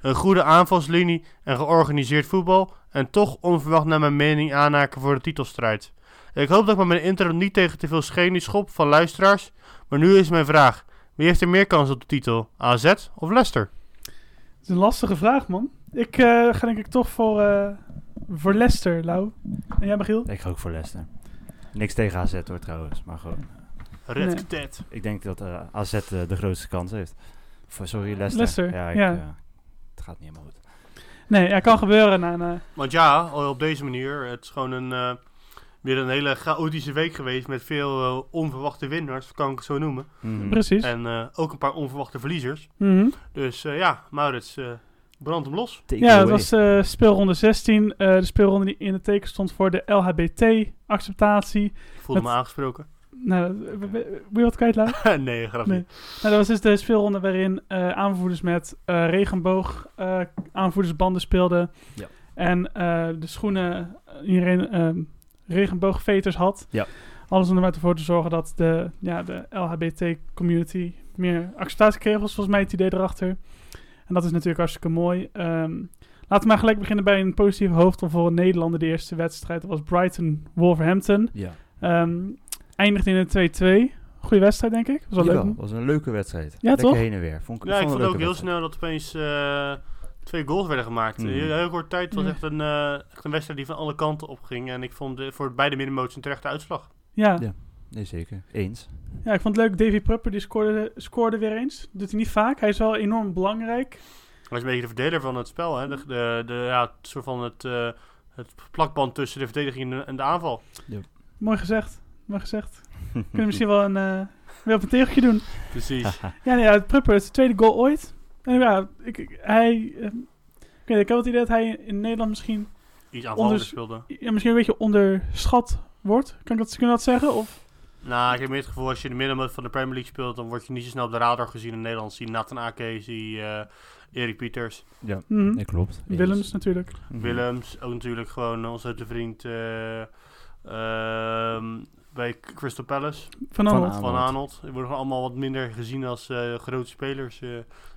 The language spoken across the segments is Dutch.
Een goede aanvalslinie en georganiseerd voetbal en toch onverwacht naar mijn mening aanhaken voor de titelstrijd. Ik hoop dat ik met mijn intro niet tegen te veel schenie schop van luisteraars. Maar nu is mijn vraag. Wie heeft er meer kans op de titel? AZ of Leicester? Het is een lastige vraag, man. Ik eh, ga denk ik toch voor, eh, voor Leicester, Lau. En jij, Michiel? Ik ga ook voor Leicester. Niks tegen AZ hoor trouwens, maar gewoon. Red Nee. Ted. Ik denk dat eh, AZ eh, de grootste kans heeft. Of, eh, sorry, Leicester. Leicester, Ja, ik, ja. eh, het gaat niet helemaal goed. Nee, ja, kan gebeuren. En, eh, Want ja, al op deze manier. Het is gewoon een, eh, weer een hele chaotische week geweest. Met veel eh, onverwachte winnaars, kan ik het zo noemen. Mhm. precies. En eh, ook een paar onverwachte verliezers. Mhm. Dus eh, ja, Maurits, eh, brand hem los. Take Ja, dat away. was eh, speelronde 16. eh, de speelronde die in het teken stond voor de LHBT-acceptatie. Ik voelde Wat- me aangesproken. Nou, dat- we- we- wil je wat kwijt, Lau? nee, grapje. Nee. Nou, dat was dus de speelronde waarin eh, aanvoerders met eh, regenboog eh, aanvoerdersbanden speelden. Ja. En eh, de schoenen eh, iedereen ehm, regenboogveters had. Ja. Alles om er maar ervoor te zorgen dat de, ja, de LHBT-community meer acceptatie kreeg, was volgens mij het idee erachter. En dat is natuurlijk hartstikke mooi. Ehm, laten we maar gelijk beginnen bij een positieve hoofdrol voor een Nederlander. De eerste wedstrijd dat was Brighton-Wolverhampton. Ja. Ehm eindigde in een 2-2. Goede wedstrijd, denk ik. Was wel leuk. Jawel, was een leuke wedstrijd. Ja, Lekker toch? heen en weer. Vond ik, Ja, ik het vond een ook leuke heel wedstrijd. snel dat opeens eh, twee goals werden gemaakt. Mhm. Heel, heel kort tijd. Het was Ja. echt een, eh, echt een wedstrijd die van alle kanten opging. En ik vond de- voor beide middenmotors een terechte uitslag. Ja. Ja. Nee, zeker. Eens. ja, ik vond het leuk. Davy Prupper die scoorde, scoorde weer eens. Dat doet hij niet vaak. Hij is wel enorm belangrijk. Hij is een beetje de verdeler van het spel. Hè? De, de, de- ja, het soort van het, eh, het plakband tussen de verdediging en de, en de aanval. Mooi gezegd. Mooi gezegd. Mhm. Kunnen we misschien wel een, eh, weer op een tegeltje doen. Precies. Ja, nee, ja, Prupper is de tweede goal ooit. En ja, ik, ik- hij... ehm, ik, weet, niet, ik heb het idee dat hij in Nederland misschien, Iets aanvallender Onders- speelde. ja, misschien een beetje onderschat wordt. Kan ik dat, kun je dat zeggen? Of, Nou, ik heb meer het gevoel als je in de middenmoot van de Premier League speelt, dan word je niet zo snel op de radar gezien in Nederland. Zie Nathan Ake, zie eh, Erik Pieters, Ja, Mhm. nee, klopt. Eens. Willems natuurlijk. Mhm. Willems, ook natuurlijk gewoon onze te vriend eh, ehm, bij K- Crystal Palace. Van Van Aanholt. Aanholt. Van Arnold. Die worden gewoon allemaal wat minder gezien als eh, grote spelers eh,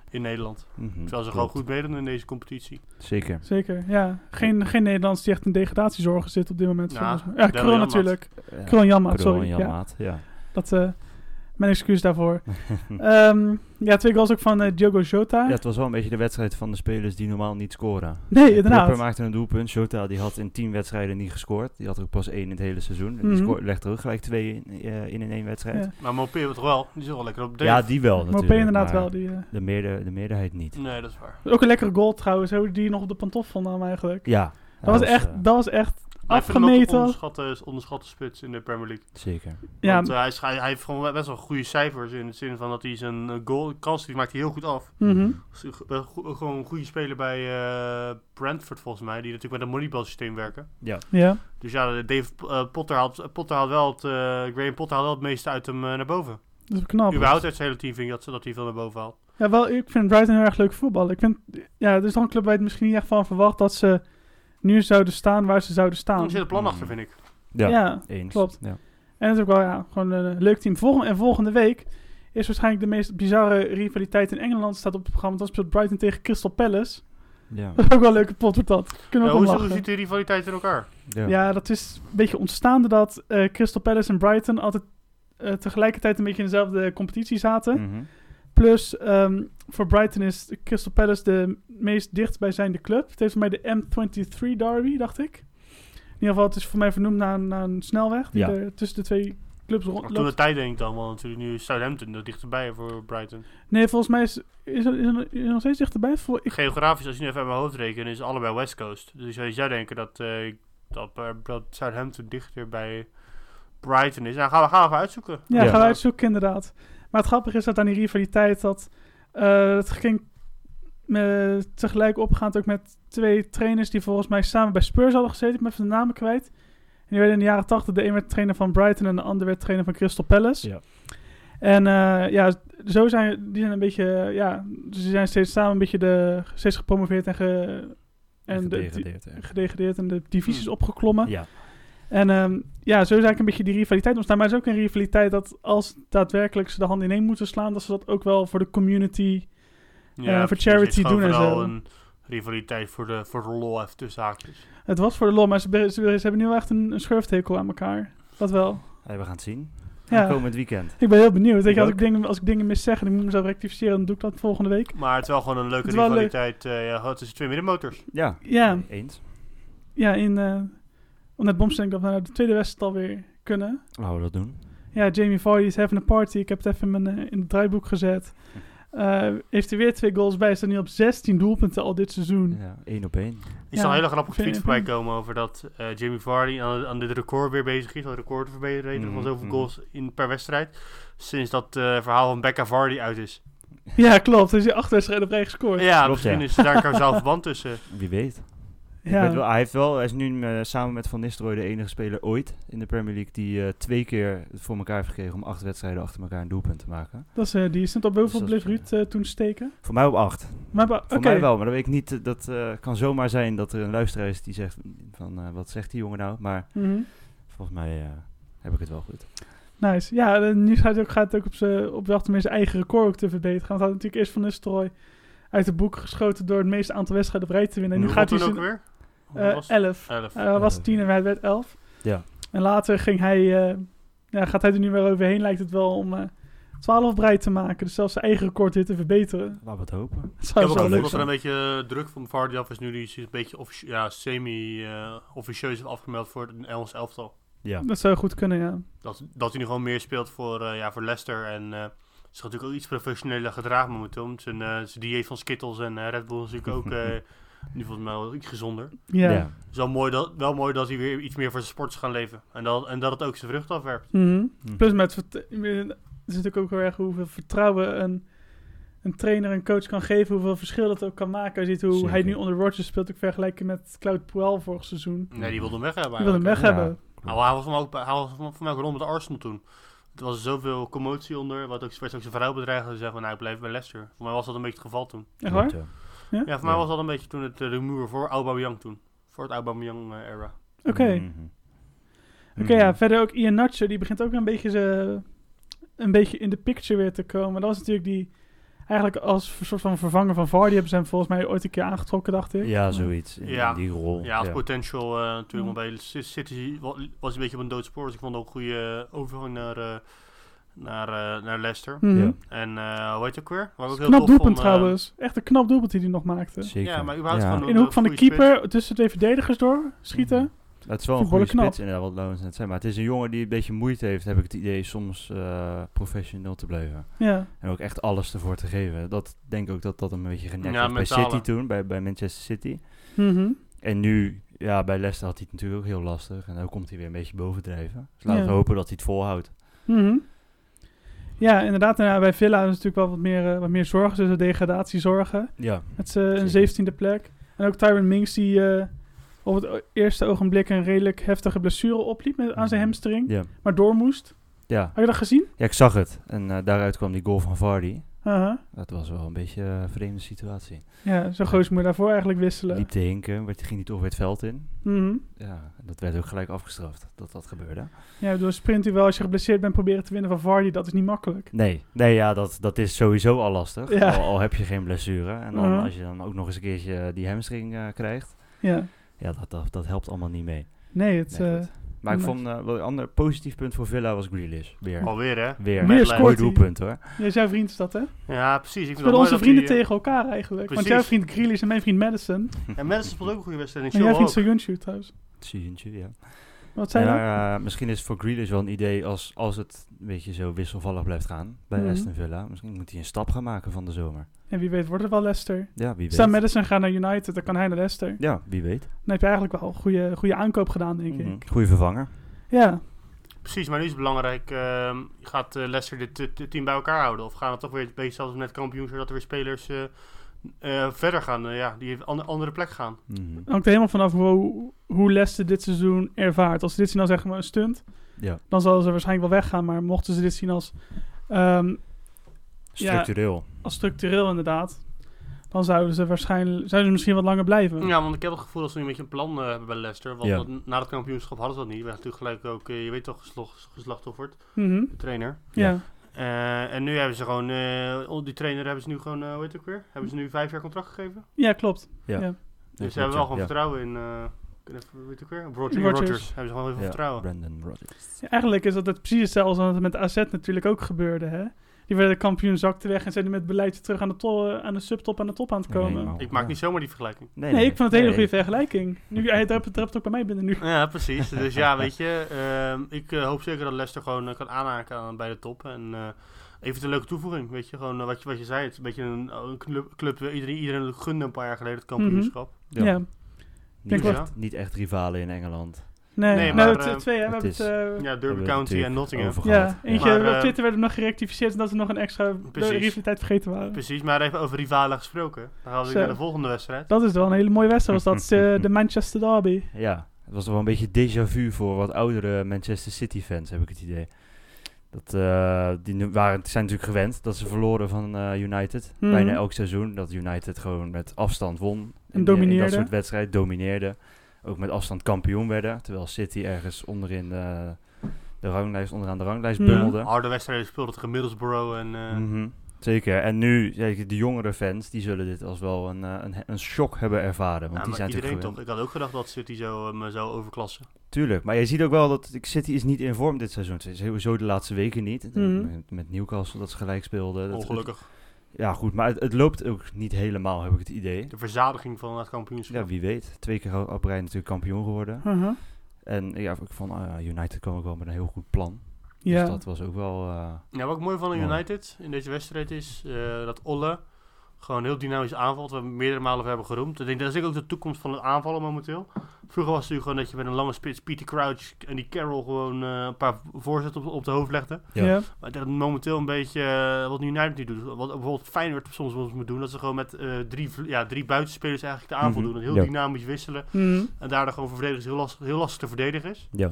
in Nederland. Mhm, Terwijl ze gewoon klopt. goed meedoen in deze competitie. Zeker. Zeker, ja. Geen, geen Nederlands die echt in degradatiezorgen zit op dit moment. Ja, volgens mij. ja Darryl Kroon Janmaat. natuurlijk. Ja, Kroon Janmaat, Krul en sorry. Ja, Janmaat, ja. dat, eh, mijn excuus daarvoor. Ehm, ja, twee goals ook van eh, Diogo Jota. Ja, het was wel een beetje de wedstrijd van de spelers die normaal niet scoren. Nee, Eh, inderdaad. Prupper maakte een doelpunt. Shota die had in 10 wedstrijden niet gescoord. Die had er ook pas één in het hele seizoen. En Mhm. Die scoort, legt er ook gelijk twee in, eh, in in één wedstrijd. Ja. Maar Mopé toch wel? Die is wel lekker op de. Ja, die wel maar natuurlijk. op inderdaad maar wel. Die, eh, De, meerder, de meerderheid niet. Nee, dat is waar. ook een lekkere goal trouwens, hoe die nog op de pantoffel nam eigenlijk. Ja. dat, was echt, eh, dat was echt Maar ik vind hem ook afgemeten. een onderschatte, onderschatte spits in de Premier League. zeker. ja, Want eh, hij, is- hij, hij heeft gewoon best wel goede cijfers in de zin van dat hij zijn eh, goal kans die maakt hij heel goed af. mhm. Dus, eh, go- Gewoon een goede speler bij eh, Brentford volgens mij, die natuurlijk met een moneyball systeem werken. Ja. ja. Dus ja, Dave eh, Potter haalt, Potter haalt wel het, eh, Graham Potter haalt wel het meeste uit hem eh, naar boven. dat is knap. Überhaupt uit zijn hele team vind ik dat, ze- dat hij veel naar boven haalt. Ja, wel, ik vind Brighton heel erg leuk voetbal. Ik vind, ja, er is toch een club waar je het misschien niet echt van verwacht dat ze nu zouden staan waar ze zouden staan. Er zit een plan Mm. achter, vind ik. Ja, ja. eens. klopt. Ja. En dat is ook wel ja, gewoon een eh, leuk team. Volgende, en volgende week is waarschijnlijk de meest bizarre rivaliteit in Engeland staat op het programma. Dat speelt Brighton tegen Crystal Palace. Ja. Dat is ook wel een leuke pot wordt dat. Kunnen Ja, we ook hoe, om hoe lachen. ziet die rivaliteit in elkaar? Ja. Ja. dat is een beetje ontstaan dat eh, Crystal Palace en Brighton altijd eh, tegelijkertijd een beetje in dezelfde competitie zaten. Mhm. Plus, ehm, voor Brighton is Crystal Palace de meest dichtstbijzijnde club. Het heeft voor mij de M23 derby, dacht ik. In ieder geval, het is voor mij vernoemd naar, een- naar een snelweg die Ja. er tussen de twee clubs rondloopt. Oh, Toen de tijd denk ik dan wel natuurlijk. Nu is Southampton er dichterbij voor Brighton. Nee, volgens mij is, is, er, is, er, is er nog steeds dichterbij. Vol- Ik, Geografisch, als je nu even aan mijn hoofd rekent, is allebei West Coast. Dus je zou denken dat, eh, dat, eh, dat Southampton dichter bij Brighton is. Nou, gaan we, gaan we even uitzoeken. ja, Ja. gaan we uitzoeken inderdaad. Maar het grappige is dat aan die rivaliteit dat eh, het ging eh, tegelijk opgaand ook met twee trainers die volgens mij samen bij Spurs hadden gezeten. Ik ben even de namen kwijt. En die werden in de jaren 80. De een werd trainer van Brighton en de ander werd trainer van Crystal Palace. Ja. En eh, ja, zo zijn die zijn een beetje, ja, dus die zijn steeds samen een beetje de, steeds gepromoveerd en, ge, en de- Gedegradeerd, hè. gedegradeerd en de divisies Hmm. opgeklommen. Ja, En ehm, ja, zo is eigenlijk een beetje die rivaliteit ontstaan. Maar het is ook een rivaliteit dat als daadwerkelijk ze de handen ineen moeten slaan, dat ze dat ook wel voor de community. Ja, eh, voor precies. Het charity is gewoon doen en vooral zo. een rivaliteit voor de, voor de lol even tussen haakjes. Het was voor de lol, maar ze, be- ze, ze hebben nu wel echt een, een schurftekel aan elkaar. Dat wel. Hey, we gaan het zien. Ja. Komend weekend. Ik ben heel benieuwd. Ik, Ik als, ik ook. dingen, als ik dingen mis zeg en ik moet mezelf rectificeren, dan doe ik dat volgende week. Maar het is wel gewoon een leuke Het is wel leuk. rivaliteit eh, ja, gewoon tussen twee middenmotors. Ja, Ja. nee, eens. Ja, in, eh net bomstelling dat we naar de tweede wedstrijd alweer kunnen. Laten we dat doen. Ja, Jamie Vardy is having a party. Ik heb het even in, mijn, eh, in het draaiboek gezet. Eh, heeft hij weer twee goals bij. Staat nu op 16 doelpunten al dit seizoen. Ja, één op één. Er is Ja, al een hele grappige vind tweet ik voorbij ook. komen over dat eh, Jamie Vardy aan, aan dit record weer bezig is. Dat record te verbeteren Mhm, van zoveel mhm. goals in, per wedstrijd. Sinds dat eh, verhaal van Becca Vardy uit is. Ja, klopt. Dus hij acht wedstrijden op rij gescoord. Ja, Klopt, misschien ja. is daar een kausaal verband tussen. Wie weet. Ik Ja. weet wel, hij, heeft wel, hij is nu eh, samen met Van Nistelrooy de enige speler ooit in de Premier League die eh, twee keer het voor elkaar heeft gekregen om acht wedstrijden achter elkaar een doelpunt te maken. Dat is eh decent. Op hoeveel Dus dat bleef is, Ruud eh, toen steken? Voor mij op acht. Maar ba- Voor oké. mij wel, maar dat weet ik niet. eh, Dat eh, kan zomaar zijn dat er een luisteraar is die zegt van eh, wat zegt die jongen nou? Maar Mhm. volgens mij eh, heb ik het wel goed. Nice. Ja, eh, nu gaat het ook, gaat het ook op, z'n- op weg om zijn eigen record ook te verbeteren. Want hij had natuurlijk eerst Van Nistelrooy uit de boek geschoten door het meeste aantal wedstrijden op rij te winnen. En nu Hoe gaat hij toen ook zijn weer? Hoe eh, was het? 11. Elf. Hij was Ja. tien en hij werd elf. Ja. En later ging hij, eh, ja, gaat hij er nu weer overheen, lijkt het wel, om eh 12 breid te maken. Dus zelfs zijn eigen record weer te verbeteren. Laten we het hopen. Dat Ik zou heb ook het zo gevoel leuk dat er zijn. een beetje eh, druk van Vardy af is nu. Die is een beetje offici- ja, semi-officieus afgemeld voor het Engels elftal. Ja, Dat zou goed kunnen, ja. Dat, dat hij nu gewoon meer speelt voor, eh, ja, voor Leicester. En eh zich natuurlijk ook iets professioneler gedragen momenteel. Want Zijn, eh, zijn dieet van Skittles en eh, Red Bull is natuurlijk ook eh, nu volgens mij wel iets gezonder. Ja. ja. Het is wel mooi dat, wel mooi dat hij weer iets meer voor zijn sport is gaan leven. En dat, en dat het ook zijn vrucht afwerpt. Mhm. Hm. Plus met, vert- het is natuurlijk ook heel erg hoeveel vertrouwen een, een trainer, een coach kan geven. Hoeveel verschil dat ook kan maken. Als je ziet hoe Zeker. hij nu onder Rodgers speelt, ik vergelijk hem met Cloud Puel vorig seizoen. Nee, die wilde hem weg hebben Die wil hem weg Ja. hebben. Nou, hij was van ook, bij- hij was van van mij ook rond met Arsenal toen. Er was zoveel commotie onder, wat ook, werd ook zijn vrouw bedreigd. En zei van, nou, ik blijf bij Leicester. Voor mij was dat een beetje het geval toen. Echt waar? Klopt, Ja, voor mij Ja. was dat een beetje toen het eh, rumoer voor Aubameyang toen. Voor het eh, Aubameyang-era. Oké. Mhm. Oké, Mhm. ja, verder ook Ian Nacho, die begint ook een beetje, ze, een beetje in de picture weer te komen. Dat was natuurlijk die, eigenlijk als een soort van vervanger van Vardy hebben ze hem volgens mij ooit een keer aangetrokken, dacht ik. Ja, zoiets. In, Ja. in die rol. Ja, als ja. potential eh, natuurlijk. Mm. want Bij Ci- City wa- was een beetje op een dood spoor. Dus ik vond ook een goede overgang naar, eh, naar, eh, naar Leicester. Mhm. Ja. En eh hoe heet het ook weer? Wat ik ook heel Knap tof vond, doelpunt eh, trouwens. Echt een knap doelpunt die hij nog maakte. Zeker. Ja, maar überhaupt gewoon In de hoek van de goede spits. keeper, tussen twee verdedigers door, schieten. Het is wel Vind ik een wel goede knap. spits inderdaad, wat Lawrence net zei. Maar het is een jongen die een beetje moeite heeft, heb ik het idee, soms eh, professioneel te blijven. Ja, En ook echt alles ervoor te geven. Dat denk ik ook dat dat hem een beetje genekt Ja, heeft bij mentale. City toen, bij, bij Manchester City. Mhm. En nu, ja, bij Leicester had hij het natuurlijk ook heel lastig. En nu komt hij weer een beetje bovendrijven. Dus laten we Ja. hopen dat hij het volhoudt. Mhm. ja inderdaad. En, ja, bij Villa is natuurlijk wel wat meer, eh, wat meer zorgen, dus de degradatie zorgen. Ja, Met zijn Zeker. zeventiende plek. En ook Tyron Mings die eh, op het o- eerste ogenblik een redelijk heftige blessure opliep met, aan zijn hamstring. Mhm. ja, Maar door moest. ja. Had je dat gezien? Ja, ik zag het. En eh, daaruit kwam die goal van Vardy. Aha. Dat was wel een beetje eh, een vreemde situatie. Ja, zo goos moet je daarvoor eigenlijk wisselen. Liep te hinken, werd, ging niet over het veld in. Mhm. Ja, en dat werd ook gelijk afgestraft dat dat gebeurde. Ja, door sprint u wel als je geblesseerd bent proberen te winnen van Vardy. Dat is niet makkelijk. Nee, nee ja, dat, dat is sowieso al lastig. Ja. Al, al heb je geen blessure. En dan, Mhm. als je dan ook nog eens een keertje eh, die hamstring eh, krijgt, Ja. ja, dat, dat, dat helpt allemaal niet mee. Nee, het... Nee, eh, goed. maar ik maar- vond eh, wel een ander positief punt voor Villa was Grealish. Weer. Alweer, hè? Weer. Weer Medlijn. Mooi Oh. scoort hij. doelpunt hoor. Ja, jouw vriend is dat, hè? Ja, precies. Ik vind Met het mooi onze dat vrienden hij, eh, tegen elkaar eigenlijk. Want Precies. jouw vriend Grealish en mijn vriend Madison. En mensen speelt ook een goede wedstrijd. En En jouw Shaw vriend ook. Soyuncu trouwens. Sijuntje, ja. Wat zijn En, er? eh, misschien is het voor Grealish wel een idee als, als het een beetje zo wisselvallig blijft gaan bij Mhm. Aston Villa. Misschien moet hij een stap gaan maken van de zomer. En wie weet wordt het wel Leicester. Ja, wie weet. Stel Madison gaat naar United, dan kan hij naar Leicester. Ja, wie weet. Dan heb je eigenlijk wel een goede, goede aankoop gedaan, denk ik. Mhm. Goeie vervanger. Ja, Oh, Precies, maar nu is het belangrijk. ehm, gaat eh, Leicester dit eh, dit team bij elkaar houden? Of gaan we toch weer een beetje zelfs net kampioen, zodat er weer spelers eh, eh, verder gaan? eh, ja, die een ander- andere plek gaan. Mhm. hangt er helemaal vanaf hoe, hoe Leicester dit seizoen ervaart. Als ze dit zien als zeg maar een stunt, Ja, dan zal ze waarschijnlijk wel weggaan. Maar mochten ze dit zien als, ehm, structureel. als structureel inderdaad, dan zouden ze waarschijnlijk zouden ze misschien wat langer blijven. Ja, want ik heb het gevoel dat ze nu een beetje een plan eh, hebben bij Leicester. Want Ja. dat- na het kampioenschap hadden ze dat niet. We hebben natuurlijk gelijk ook, eh, je weet toch, geslog- geslachtofferd. Mhm, De trainer. ja. Ja. Eh, en nu hebben ze gewoon, eh, oh, die trainer hebben ze nu gewoon, eh hoe heet het ook weer? Hebben ze nu vijf jaar contract gegeven? Ja, klopt. Dus ze Ja, hebben wel klopt, gewoon ja. vertrouwen in, eh, ik weet even- hoe heet het ook weer? Roger, Rodgers. Rogers. Hebben ze gewoon heel veel Ja, vertrouwen. Brandon Rodgers. Ja, eigenlijk is dat het precies hetzelfde als wat met AZ natuurlijk ook gebeurde, hè. Die werden kampioen, zakte weg en zijn nu met beleid terug aan de, to- aan de subtop aan de top aan het komen. Helemaal. Ik maak Ja. niet zomaar die vergelijking. Nee, ik vond het een hele goede vergelijking. Nu, hij trapt trapt ook bij mij binnen nu. Ja, precies. Dus ja, weet je, ehm, ik eh, hoop zeker dat Leicester gewoon eh, kan aanhaken aan, bij de top. En eh even een leuke toevoeging, weet je. Gewoon eh, wat, je, wat je zei, het is een beetje een, een club, club eh, iedereen, iedereen gunde een paar jaar geleden het kampioenschap. Mhm. Ja. Niet, denk echt, niet echt rivalen in Engeland. Nee, Nee, nee, maar, t- eh, twee, hè. We het hebben het... eh, Ja, Hebben Derby we County natuurlijk en Nottingham. over ja, gehad. eentje Maar, eh, op Twitter werd hem nog gerectificeerd... omdat we nog een extra Precies. rivaliteit vergeten waren. Precies, maar even over rivalen gesproken. Dan gaan we Zo. naar de volgende wedstrijd. Dat is wel een hele mooie wedstrijd. Was dat eh, de Manchester Derby. Ja, het was wel een beetje déjà vu voor wat oudere Manchester City fans, heb ik het idee. Dat, eh, die nu waren, zijn natuurlijk gewend dat ze verloren van eh, United. Mhm. Bijna elk seizoen. Dat United gewoon met afstand won. En domineerde. dat soort wedstrijd domineerde. Ook met afstand kampioen werden. Terwijl City ergens onderin eh, de ranglijst, onderaan de ranglijst Ja. bungelde. Harde wedstrijden speelde tegen Middlesbrough en... eh, Mhm, Zeker. En nu, ja, de jongere fans, die zullen dit als wel een, eh, een, een shock hebben ervaren. Want ja, die maar zijn iedereen natuurlijk toch. Ik had ook gedacht dat City zo, hem eh, zou overklassen. Tuurlijk, maar je ziet ook wel dat ik- City is niet in vorm dit seizoen. Ze is sowieso de laatste weken niet. Mhm. Met, met Newcastle dat ze gelijk speelden. Dat- Ongelukkig. het- ja, goed, maar het, het loopt ook niet helemaal, heb ik het idee. De verzadiging van het kampioenschap. Ja, wie weet. Twee keer op op rij natuurlijk kampioen geworden. Uh-huh. En ja, ik vond ah, United kwam ook wel met een heel goed plan. Ja, Dus dat was ook wel... eh, Ja, wat ik mooi van Mooi. United in deze wedstrijd is eh, dat Olle gewoon heel dynamisch aanvalt. We hebben meerdere malen over hebben geroemd. Ik denk dat is denk ik ook de toekomst van het aanvallen momenteel. Vroeger was het natuurlijk gewoon dat je met een lange spits Peter Crouch en die Carroll gewoon eh, een paar voorzetten op, op de hoofd legde. ja. ja. Maar ik denk dat momenteel een beetje eh, wat nu United niet doet. Wat bijvoorbeeld Feyenoord soms wel eens moet doen. Dat ze gewoon met eh, drie, vl- ja, drie buitenspelers eigenlijk de aanval Mhm, doen. En heel ja. dynamisch wisselen. Mhm. En daardoor gewoon voor verdedigers heel lastig, heel lastig te verdedigen is. ja.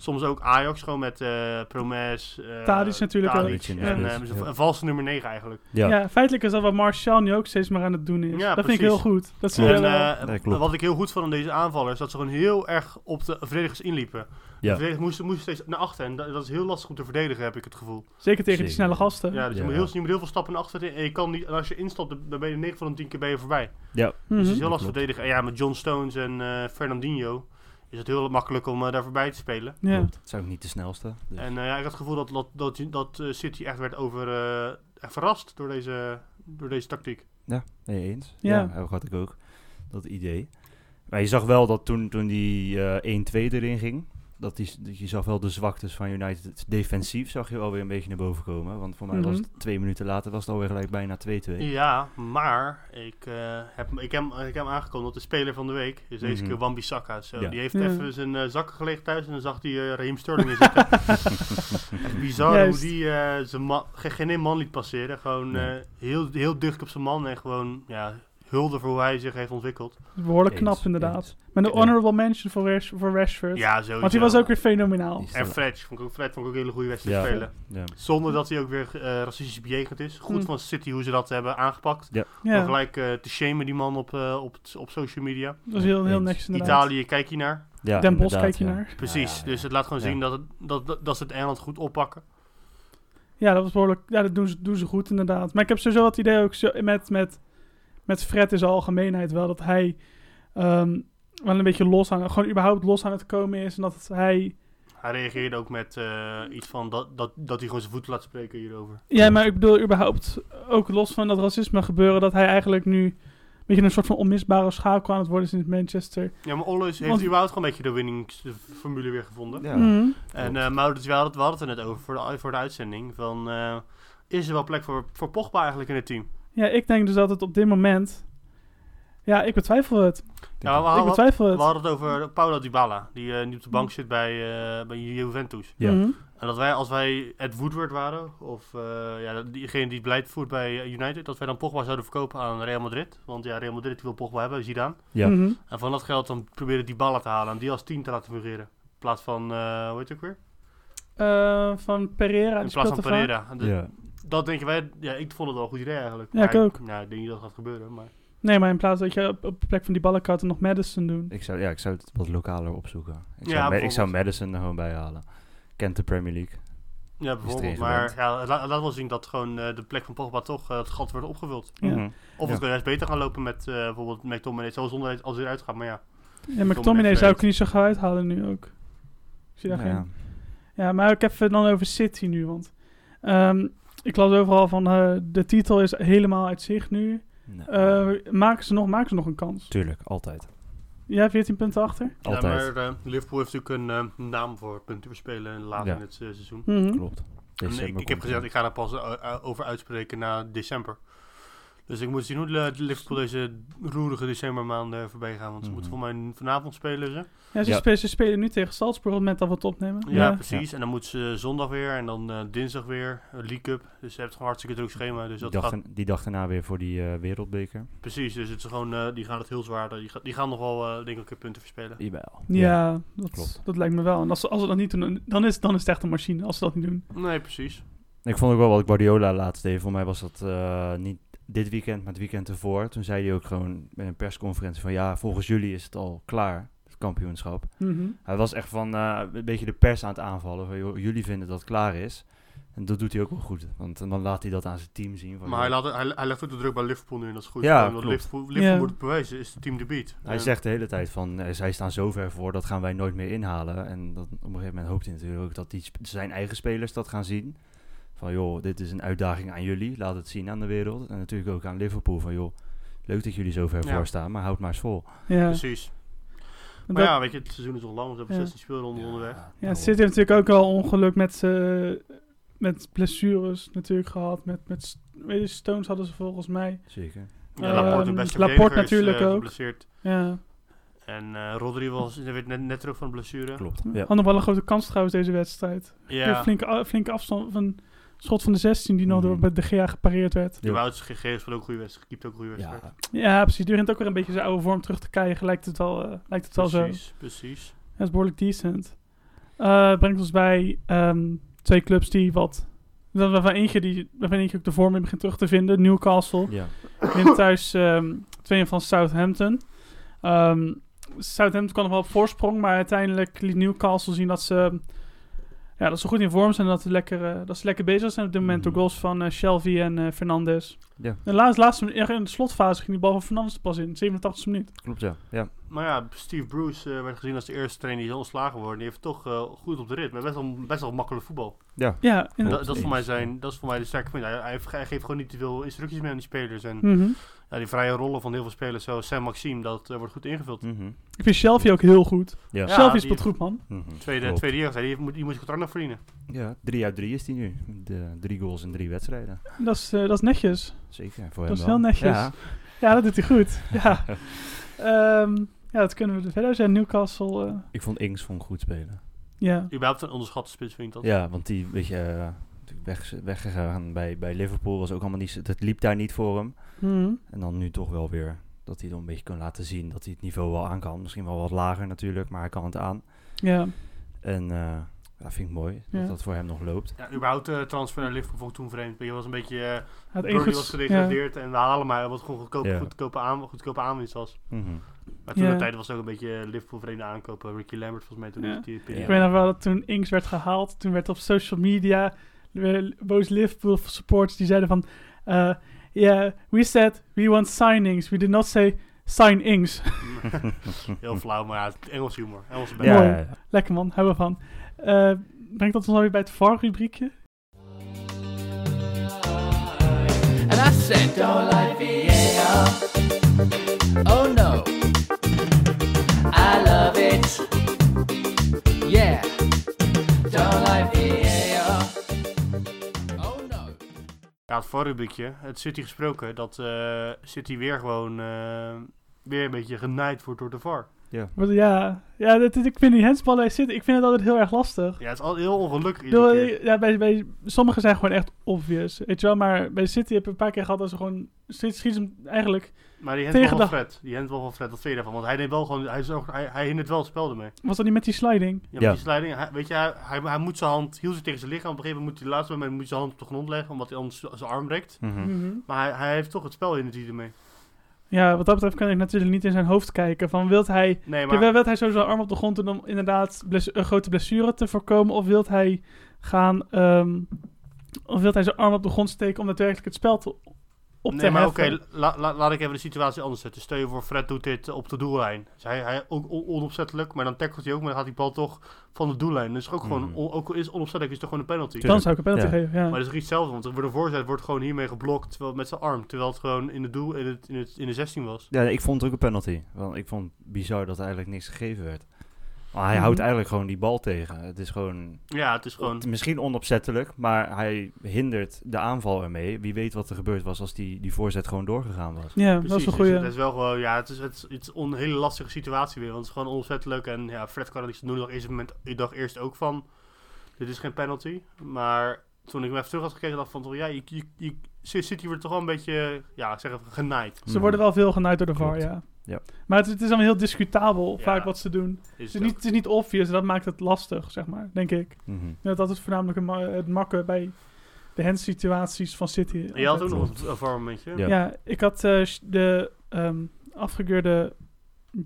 Soms ook Ajax, gewoon met eh Promes. eh, Tadic natuurlijk ook. Tadic Tadic in de En spits, eh, ja. een valse nummer 9 eigenlijk. Ja. Ja, feitelijk is dat wat Martial nu ook steeds maar aan het doen is. Ja, dat vind ik precies. heel goed. Dat ze Klopt. wel, En, eh, eh, Nee, klopt. wat ik heel goed vond aan deze aanvaller is dat ze gewoon heel erg op de verdedigers inliepen. De Ja. verdedigers moesten, moesten steeds naar achter en dat, dat is heel lastig om te verdedigen, heb ik het gevoel. zeker tegen die zeker. snelle gasten. Ja, dus je, Ja. moet heel, je moet heel veel stappen naar achter en je kan niet, en als je instapt, dan dan ben je 9 van de 10 keer ben je voorbij. Mhm. Dus het is heel Dat lastig verdedigen. En ja, met John Stones en eh, Fernandinho is het heel makkelijk om eh, daar voorbij te spelen. Ja. Klopt. Het zijn ook niet de snelste. Dus. En eh, ja, ik had het gevoel dat, dat, dat, dat, eh, City echt werd over, eh, echt verrast door deze, door deze tactiek. Nee, eens. Ja. Ja. dat had ik ook. Dat idee. Maar je zag wel dat toen, toen die eh 1-2 erin ging, dat, die, dat je zag wel de zwaktes van United. Defensief zag je wel weer een beetje naar boven komen. Want voor mij was Mhm. het twee minuten later was het alweer gelijk bijna 2-2. Ja, maar ik, eh, heb, ik, heb, ik heb hem aangekondigd dat de speler van de week is deze Mhm. keer Wambi Saka. Zo, Ja. Die heeft Ja. even zijn eh, zakken gelegen thuis en dan zag hij eh Raheem Sterling in zitten. Echt bizar Juist. hoe die eh, zijn man, ge- geen één man liet passeren. Gewoon Nee. eh, heel, heel dicht op zijn man en gewoon ja, hulde voor hoe hij zich heeft ontwikkeld. Behoorlijk Eens, knap inderdaad. eens. Met een Ja. honorable mention voor, Rash- voor Rashford. Ja, sowieso. Want die was ook weer fenomenaal. Die is En te- Fred vond ik ook, Fred vond ik ook een hele goede wedstrijd Ja. spelen. ja. Zonder dat hij ook weer eh, racistisch bejegend is. Goed Mm. van City hoe ze dat hebben aangepakt. Om Ja, gelijk eh, te shamen die man op, eh, op, t- op social media. dat is heel, heel Eens. niks inderdaad. Italië, kijk je naar. Ja, Den Bosch inderdaad, kijk je ja. naar. Precies, ja, dus ja. het laat gewoon Ja. zien dat, het, dat, dat, dat ze het Engeland goed oppakken. Ja, dat was behoorlijk. Ja, dat doen ze, doen ze goed inderdaad. Maar ik heb sowieso het idee ook zo, met, met, met Fred in zijn algemeenheid wel dat hij ehm, wel een beetje los aan, gewoon überhaupt los aan het komen is. En dat hij. Hij reageerde ook met eh, iets van dat, dat, dat hij gewoon zijn voet laat spreken hierover. Ja, maar ik bedoel überhaupt ook los van dat racisme gebeuren, dat hij eigenlijk nu beetje een soort van onmisbare schakel aan het worden sinds Manchester. Ja, maar Olles heeft Want- überhaupt gewoon een beetje de winningsformule weer gevonden. Ja. Mhm. En eh Maurits, we hadden, we hadden het er net over voor de, voor de uitzending. Van, eh, is er wel plek voor, voor Pogba eigenlijk in het team? Ja, ik denk dus dat het op dit moment... Ja, ik betwijfel het. Ja, we, Ik hadden, betwijfel we het. hadden het Mm. over Paulo Dybala, die eh, nu op de bank zit bij, eh, bij Juventus. Ja. Mhm. En dat wij, als wij Ed Woodward waren, of eh, ja, diegene die het beleid voert bij eh, United, dat wij dan Pogba zouden verkopen aan Real Madrid. Want ja, Real Madrid die wil Pogba hebben, Zidane. Ja. Mhm. En van dat geld dan proberen die ballen te halen en die als team te laten fungeren. In plaats van, eh hoe heet het ook weer? Eh, van Pereira. in plaats die van speelt er vaak. Pereira. En de- Ja. Dat denken wij, ja, ik vond het wel een goed idee eigenlijk. Ja, Maar ik ook. Nou, ik denk niet dat het gaat gebeuren, maar... Nee, maar in plaats dat je op, op de plek van die ballenkaarten nog Madison doen. Ik zou, ja, ik zou het wat lokaler opzoeken. Ik Ja, zou, Ma- ik zou bijvoorbeeld. Madison er gewoon bij halen. Kent de Premier Ja, League. erin bijvoorbeeld. gewend? Maar ja, het la- het laat wel zien dat gewoon eh, de plek van Pogba toch eh, het gat wordt opgevuld. Ja. Mhm. Of het Ja. kan juist beter gaan lopen met eh bijvoorbeeld McTominay, zelfs zonder dat- als hij eruit gaat. Maar ja, En McTominay zou ik vreemd. niet zo gauw uithalen nu ook. Ik zie daar geen... Ja. Ja, maar ik heb het dan over City nu, want ehm, ik las overal van eh, de titel is helemaal uit zicht nu. Nou, Eh, maken, ze nog, maken ze nog een kans? Tuurlijk, altijd. Ja, 14 punten achter. ja Altijd. maar eh, Liverpool heeft natuurlijk een eh, naam voor punten verspelen later Ja. in het eh, seizoen. Mhm. Klopt. En December ik, ik heb komt gezegd, hij. ik ga daar pas eh, eh, over uitspreken na december. Dus ik moet zien hoe de- de Liverpool deze roerige decembermaanden eh, voorbij gaan. Want ze moeten Mhm. voor mij vanavond spelen ze. Ja, ze, Ja. Spelen, ze spelen nu tegen Salzburg op het moment dat we het opnemen. Ja, Ja. precies. En dan moeten ze zondag weer en dan eh, dinsdag weer. eh, League Cup. Dus je hebt gewoon hartstikke druk schema. Dus Die dat dag, gaat en- die dag daarna weer voor die eh, wereldbeker. precies. Dus het is gewoon, eh, die gaan het heel zwaar. Die, ga- die gaan nog wel, eh, denk ik, punten verspelen. Jawel. Ja, dat, klopt. dat lijkt me wel. En als ze, als ze dat niet doen, dan is, dan is het echt een machine als ze dat niet doen. Nee, precies. Ik vond ook wel wat Guardiola laatst deed. Voor mij was dat eh, niet dit weekend, maar het weekend ervoor. Toen zei hij ook gewoon bij een persconferentie van... Ja, volgens jullie is het al klaar, het kampioenschap. Mhm. Hij was echt van eh, een beetje de pers aan het aanvallen. Van, joh, jullie vinden dat het klaar is. En dat doet hij ook wel goed. Want dan laat hij dat aan zijn team zien. Van, Maar joh, hij, laat, hij, hij legt ook de druk bij Liverpool nu en dat is goed. Ja, Want klopt. Liverpool, Liverpool Ja. moet het bewijzen. Is het team de beat. Hij En- zegt de hele tijd van, eh, zij staan zo ver voor, dat gaan wij nooit meer inhalen. En dat, op een gegeven moment hoopt hij natuurlijk ook dat die, sp- zijn eigen spelers dat gaan zien. Van joh, dit is een uitdaging aan jullie, laat het zien aan de wereld. En natuurlijk ook aan Liverpool van joh, leuk dat jullie zo ver Ja. voor staan, maar houd maar eens vol. Ja, Precies. En Maar dat- ja, weet je, het seizoen is nog lang. We hebben Ja. 16 speelronden onderweg. Nou. Ja, City heeft natuurlijk ook al ongeluk met, z'n- met blessures natuurlijk gehad. Met, met st- weet je, Stones hadden ze volgens mij. Zeker. Ja, Ehm, Laporte, de beste Laporte verdediger, is, eh, natuurlijk ook. geblesseerd. Ja. En eh Rodri was hij werd net, net terug van de blessure. Klopt. Had Ja. nog wel een grote kans trouwens deze wedstrijd. Ja, Flinke, a- flinke afstand van schot van de 16 die nog door Mhm. bij De Gea gepareerd werd. de Wouters gegevens van ook een goede wedstrijd. Kiept ook een goede wedstrijd. Ja, Ja, precies. Die begint ook weer een beetje zijn oude vorm terug te krijgen. Lijkt het wel, eh, lijkt het wel zo. precies, precies. Dat is behoorlijk decent. Eh, brengt ons bij ehm, twee clubs die wat... wa- Waarvan eentje, die, waarvan eentje ook de vorm in begint terug te vinden. Newcastle. ja. wint thuis ehm tweeën van Southampton. Ehm, Southampton kwam nog wel op voorsprong, maar uiteindelijk liet Newcastle zien dat ze, ja, dat ze goed in vorm zijn en dat ze lekker, eh, dat ze lekker bezig zijn op dit moment. Mhm. Door goals van eh, Shelby en eh, Fernandes. Ja. De laatste, laatste, echt in de slotfase ging die bal van Fernandes er pas in, 87e minuut. klopt ja. ja. Maar ja, Steve Bruce eh, werd gezien als de eerste trainer die is ontslagen wordt. Die heeft toch eh, goed op de rit. Met best wel, best wel makkelijk voetbal. Ja, En in, dat, dat, is voor mij Eens. zijn, dat is voor mij de sterke punt. Hij, hij, ge- hij geeft gewoon niet te veel instructies meer aan die spelers. En Mhm. ja, Nou, die vrije rollen van heel veel spelers, zoals Sam Maxime, dat eh, wordt goed ingevuld. Mhm. Ik vind Shelby ook heel goed. Ja. Ja, Shelby die- speelt goed, man. Mhm. Tweede, Klopt. tweede jeugd, die moet, die moet zijn contract nog verdienen. Ja, drie uit drie is hij nu. De, drie goals in drie wedstrijden. Dat is, eh, dat is netjes. Zeker, voor Dat is hem heel wel. netjes. Ja. Ja, dat doet hij goed. Ja, Ehm, ja dat kunnen we er verder zijn. Newcastle, eh, Ik vond Ings vond goed spelen. ja. Überhaupt een onderschatte spits, vind ik dat. Ja, want die weet je eh, natuurlijk weg, weggegaan bij, bij Liverpool was ook allemaal niet. zo- Het liep daar niet voor hem. Mhm. En dan nu toch wel weer dat hij dan een beetje kan laten zien dat hij het niveau wel aan kan. Misschien wel wat lager natuurlijk, maar hij kan het aan. Ja, En eh ja, vind ik mooi Ja. dat dat voor hem nog loopt. Ja, überhaupt de transfer naar Liverpool vond ik toen vreemd. Je was een beetje... eh, het Brody enige was gedegradeerd en we halen maar wat gewoon goedkope, Ja. goedkope, aan, goedkope aanwinst was. Mhm. Maar toen Ja. de tijd was het ook een beetje eh, Liverpool vreemde aankopen. Ricky Lambert volgens mij toen Ja. in die Ik periode. weet nog wel dat toen Inks werd gehaald, toen werd op social media weer boos Liverpool supporters die zeiden van, eh yeah, we said we want signings, we did not say sign Inks. Heel flauw, maar ja, het Engels humor. Engelse Hm. Ja, band. ja, Mooi. ja. Lekker man, hou ervan. Eh brengt dat ons alweer bij het VAR-rubriekje? And I said, Don't like VAR. Oh no. I love it. Yeah. Don't like VAR. Oh no. Ja, het voorrubriekje. Het City gesproken. Dat eh, City weer gewoon eh, weer een beetje genaaid wordt door de VAR. Want Ja, ja dat, ik vind die handsballen bij City, ik vind het altijd heel erg lastig. Ja, het is al heel ongelukkig Ik iedere bedoel, keer. Ja, bij, bij, sommige zijn gewoon echt obvious, weet je wel. Maar bij City heb ik een paar keer gehad dat ze gewoon... Steeds schieten ze hem eigenlijk... Maar die handbal van tegendag- Fred. Die handbal van Fred, wat vind je daarvan? Want hij neemt wel gewoon... Hij, is ook, hij, hij hindert wel het spel ermee. Was dat niet met die sliding? Ja, Ja. Die sliding, hij, weet je, hij, hij, hij moet zijn hand... Hield ze tegen zijn lichaam. Op een gegeven moment moet hij... Laatste moment moet hij zijn hand op de grond leggen. Omdat hij anders zijn arm breekt. Mhm. Mhm. Maar hij, hij heeft toch het spel in het ermee. Ja, wat dat betreft kan ik natuurlijk niet in zijn hoofd kijken. Van wilt hij, Nee, maar... wil wilt hij zo zijn arm op de grond doen om inderdaad bles- een grote blessure te voorkomen? Of wilt hij gaan, ehm, of wilt hij zijn arm op de grond steken om daadwerkelijk het spel te, op te nee, maar oké, heffen? la- la- laat ik even de situatie anders zetten. Stel je voor, Fred doet dit eh, op de doellijn. Dus hij, hij ook on- onopzettelijk, maar dan tackelt hij ook, maar dan gaat die bal toch van de doellijn. Dus ook gewoon, Mhm. on- ook al is het onopzettelijk, is het gewoon een penalty. Dan zou ik een penalty Ja. geven, ja. Maar dat is toch iets hetzelfde, want er wordt een voorzet wordt gewoon hiermee geblokt terwijl, met zijn arm, terwijl het gewoon in, de doel, in, het, in, het, in de 16 was. Ja, nee, ik vond het ook een penalty. Want ik vond het bizar dat er eigenlijk niks gegeven werd. Maar hij Mhm. houdt eigenlijk gewoon die bal tegen. Het is gewoon, Ja, het is gewoon... het- misschien onopzettelijk, maar hij hindert de aanval ermee. Wie weet wat er gebeurd was als die, die voorzet gewoon doorgegaan was. ja, dat is Precies, een dus goede. het is wel gewoon, ja, het is, het is, het is een hele lastige situatie weer, want het is gewoon onopzettelijk en ja, Fred kan er niks aan doen. Ik dacht eerst, op het moment, ik dacht eerst ook van, dit is geen penalty, maar toen ik hem even terug had gekeken, dacht ik van, toch, ja, je, je, je, City wordt toch wel een beetje, ja, ik zeg even, genaaid. Ze worden wel veel genaaid door de VAR, Klopt. ja. Ja. Maar het, het is allemaal heel discutabel, Ja. vaak wat ze doen. Is Het is, niet, het is niet obvious en dat maakt het lastig, zeg maar, denk ik. Mhm. Ja, dat is voornamelijk een ma- het makken bij de handsituaties van City. ook. En je had altijd. ook nog een warm momentje. Ja. Ja, ik had eh, sh- de ehm, afgekeurde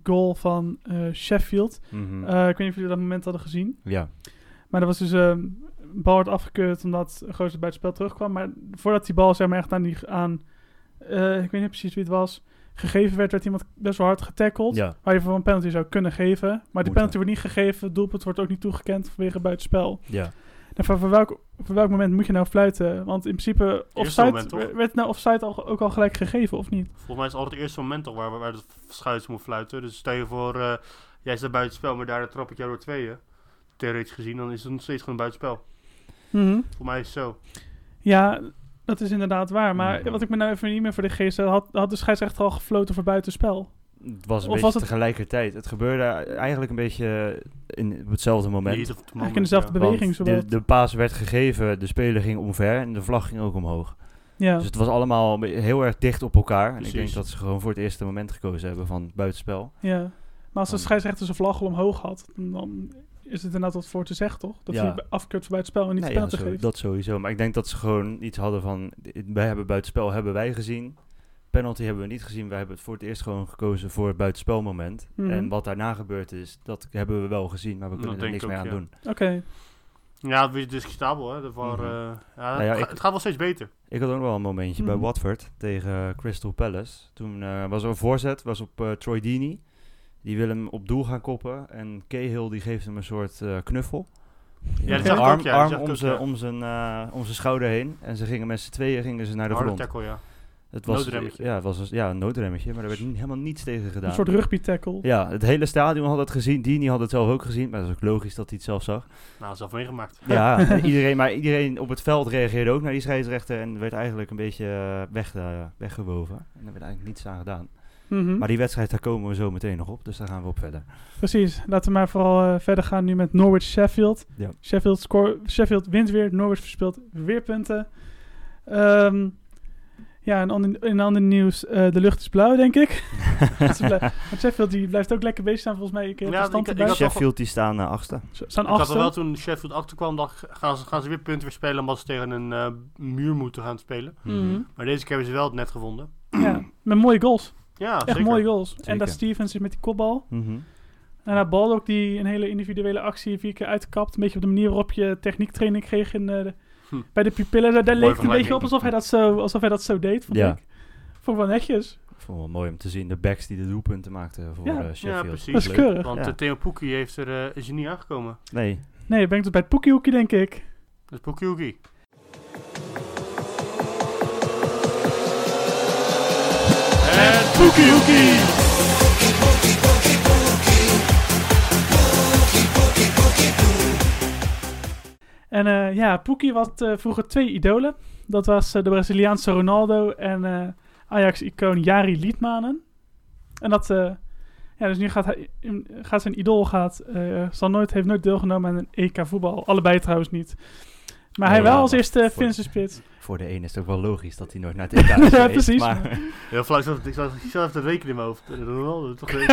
goal van eh, Sheffield. Mhm. Eh, ik weet niet of jullie dat moment hadden gezien. ja. Maar dat was dus ehm een bal werd afgekeurd omdat Gozer bij het spel terugkwam. Maar voordat die bal zeg maar echt aan die aan eh, ik weet niet precies wie het was gegeven werd, werd iemand best wel hard getackeld. ja. Waar je voor een penalty zou kunnen geven. Maar die Moeten. penalty wordt niet gegeven. Het doelpunt wordt ook niet toegekend vanwege buitenspel. Ja. En van, voor, welk, voor welk moment moet je nou fluiten? Want in principe, offside, moment, toch? werd- werd nou offside al, ook al gelijk gegeven, of niet? Volgens mij is het altijd het eerste moment toch waar, waar- waar de schuit moet fluiten. Dus stel je voor, eh, jij staat buiten spel, maar daar trap ik jou door tweeën. Theoretisch gezien, dan is het nog steeds gewoon buitenspel. Voor mij is het zo. Ja, dat is inderdaad waar. Maar Mhm. wat ik me nou even niet meer voor de geest had, had de scheidsrechter al gefloten voor buitenspel. Het was een Of beetje was het- tegelijkertijd. Het gebeurde eigenlijk een beetje in, op hetzelfde moment. Heat of the Eigenlijk moment, in dezelfde ja. beweging, Want de, zowel. de paas werd gegeven, de speler ging omver en de vlag ging ook omhoog. Ja. Dus het was allemaal be- heel erg dicht op elkaar. En ik Precies. denk dat ze gewoon voor het eerste moment gekozen hebben van buitenspel. ja. Maar als de scheidsrechter zijn vlag al omhoog had, dan is het inderdaad wat voor te zeggen, toch? Dat Ja. hij afkeurt voor buitenspel en niet Nou de ja, penalty zo- geeft. dat sowieso. Maar ik denk dat ze gewoon iets hadden van, dit- wij hebben buitenspel hebben wij gezien. Penalty hebben we niet gezien. Wij hebben het voor het eerst gewoon gekozen voor het buitenspelmoment. Mhm. En wat daarna gebeurd is, dat hebben we wel gezien. Maar we Dat kunnen er denk niks ik meer ook, aan ja. doen. Oké. Ja, het is discutabel, hè. De VAR, Mhm. eh, ja, Nou ja, het, ga- ik- het gaat wel steeds beter. Ik had ook nog wel een momentje Mhm. bij Watford tegen Crystal Palace. Toen eh, was er een voorzet, was op eh Troy Deeney. Die wil hem op doel gaan koppen. En Cahill die geeft hem een soort eh, knuffel. Ja, dat zijn zag ik arm, ook, ja, dat arm zag ik om ook, zijn ja. om zijn, eh, om zijn schouder heen. En ze gingen met z'n tweeën gingen ze naar de Harde grond. tackle, ja. Het was, Noodremmetje. Ja, het was een- ja, een noodremmetje, maar er werd niet- helemaal niets tegen gedaan. Een soort rugby-tackle. Ja, het hele stadion had het gezien. Dini had het zelf ook gezien. Maar dat is ook logisch dat hij het zelf zag. Nou, zelf meegemaakt. Ja, en iedereen, maar iedereen op het veld reageerde ook naar die scheidsrechter en werd eigenlijk een beetje eh, weg, eh, weggewoven. En er werd eigenlijk niets aan gedaan. Mhm. Maar die wedstrijd, daar komen we zo meteen nog op, dus daar gaan we op verder. Precies. Laten we maar vooral eh, verder gaan nu met Norwich-Sheffield. Ja. Sheffield, score, Sheffield wint weer. Norwich verspeelt weer punten. Ehm, ja, en ander- in ander nieuws. eh, de lucht is blauw, denk ik. Dat is blij- Want Sheffield die blijft ook lekker bezig staan, volgens mij. Ik heb Ja, de stand ik- ik erbij. had- wel- Sheffield, die staan eh, achtste. Ze staan Ik had al achtste. wel toen Sheffield achterkwam, dacht ik, gaan ze, gaan ze weer punten weer spelen omdat ze tegen een eh, muur moeten gaan spelen. Mhm. Maar deze keer hebben ze wel het net gevonden. Ja, met mooie goals. Ja, Echt zeker. mooie goals. En Zeker. dat Stevens is met die kopbal. Mhm. En dat bal ook die een hele individuele actie vier keer uitkapt. Een beetje op de manier waarop je techniektraining kreeg in, eh, de- Hm. bij de pupillen. Daar, daar leek het een beetje vergelijking. op alsof hij dat zo, alsof hij dat zo deed, vond Ja. ik. Vond ik wel netjes. Ik vond het wel mooi om te zien, de backs die de doelpunten maakten voor Ja. eh, Sheffield. Ja, precies. Dat is Leuk. keurig. Want Ja. eh, Theo Poekie heeft er, eh, is er niet aangekomen. Nee, Nee, dan ben ik dus bij het poekiehoekje, denk ik. Dat is Poekie Oekie. Het poekiehoekje! En eh, ja, Poekie had eh, vroeger twee idolen. Dat was eh, de Braziliaanse Ronaldo en eh, Ajax-icoon Jari Liedmanen. En dat, eh, ja, dus nu gaat, hij, in- gaat zijn idool, gaat, eh, zal nooit, heeft nooit deelgenomen aan een EK voetbal. Allebei trouwens niet. Maar hij Nee, wel ja, als maar eerste voor- Finse spits. Voor de ene is het ook wel logisch dat hij nooit naar het EK is Ja, geweest, precies. Maar Heel flauw, ik zat- ik zat- ik zat even te rekenen in mijn hoofd. Eh, Ronaldo, toch? eh,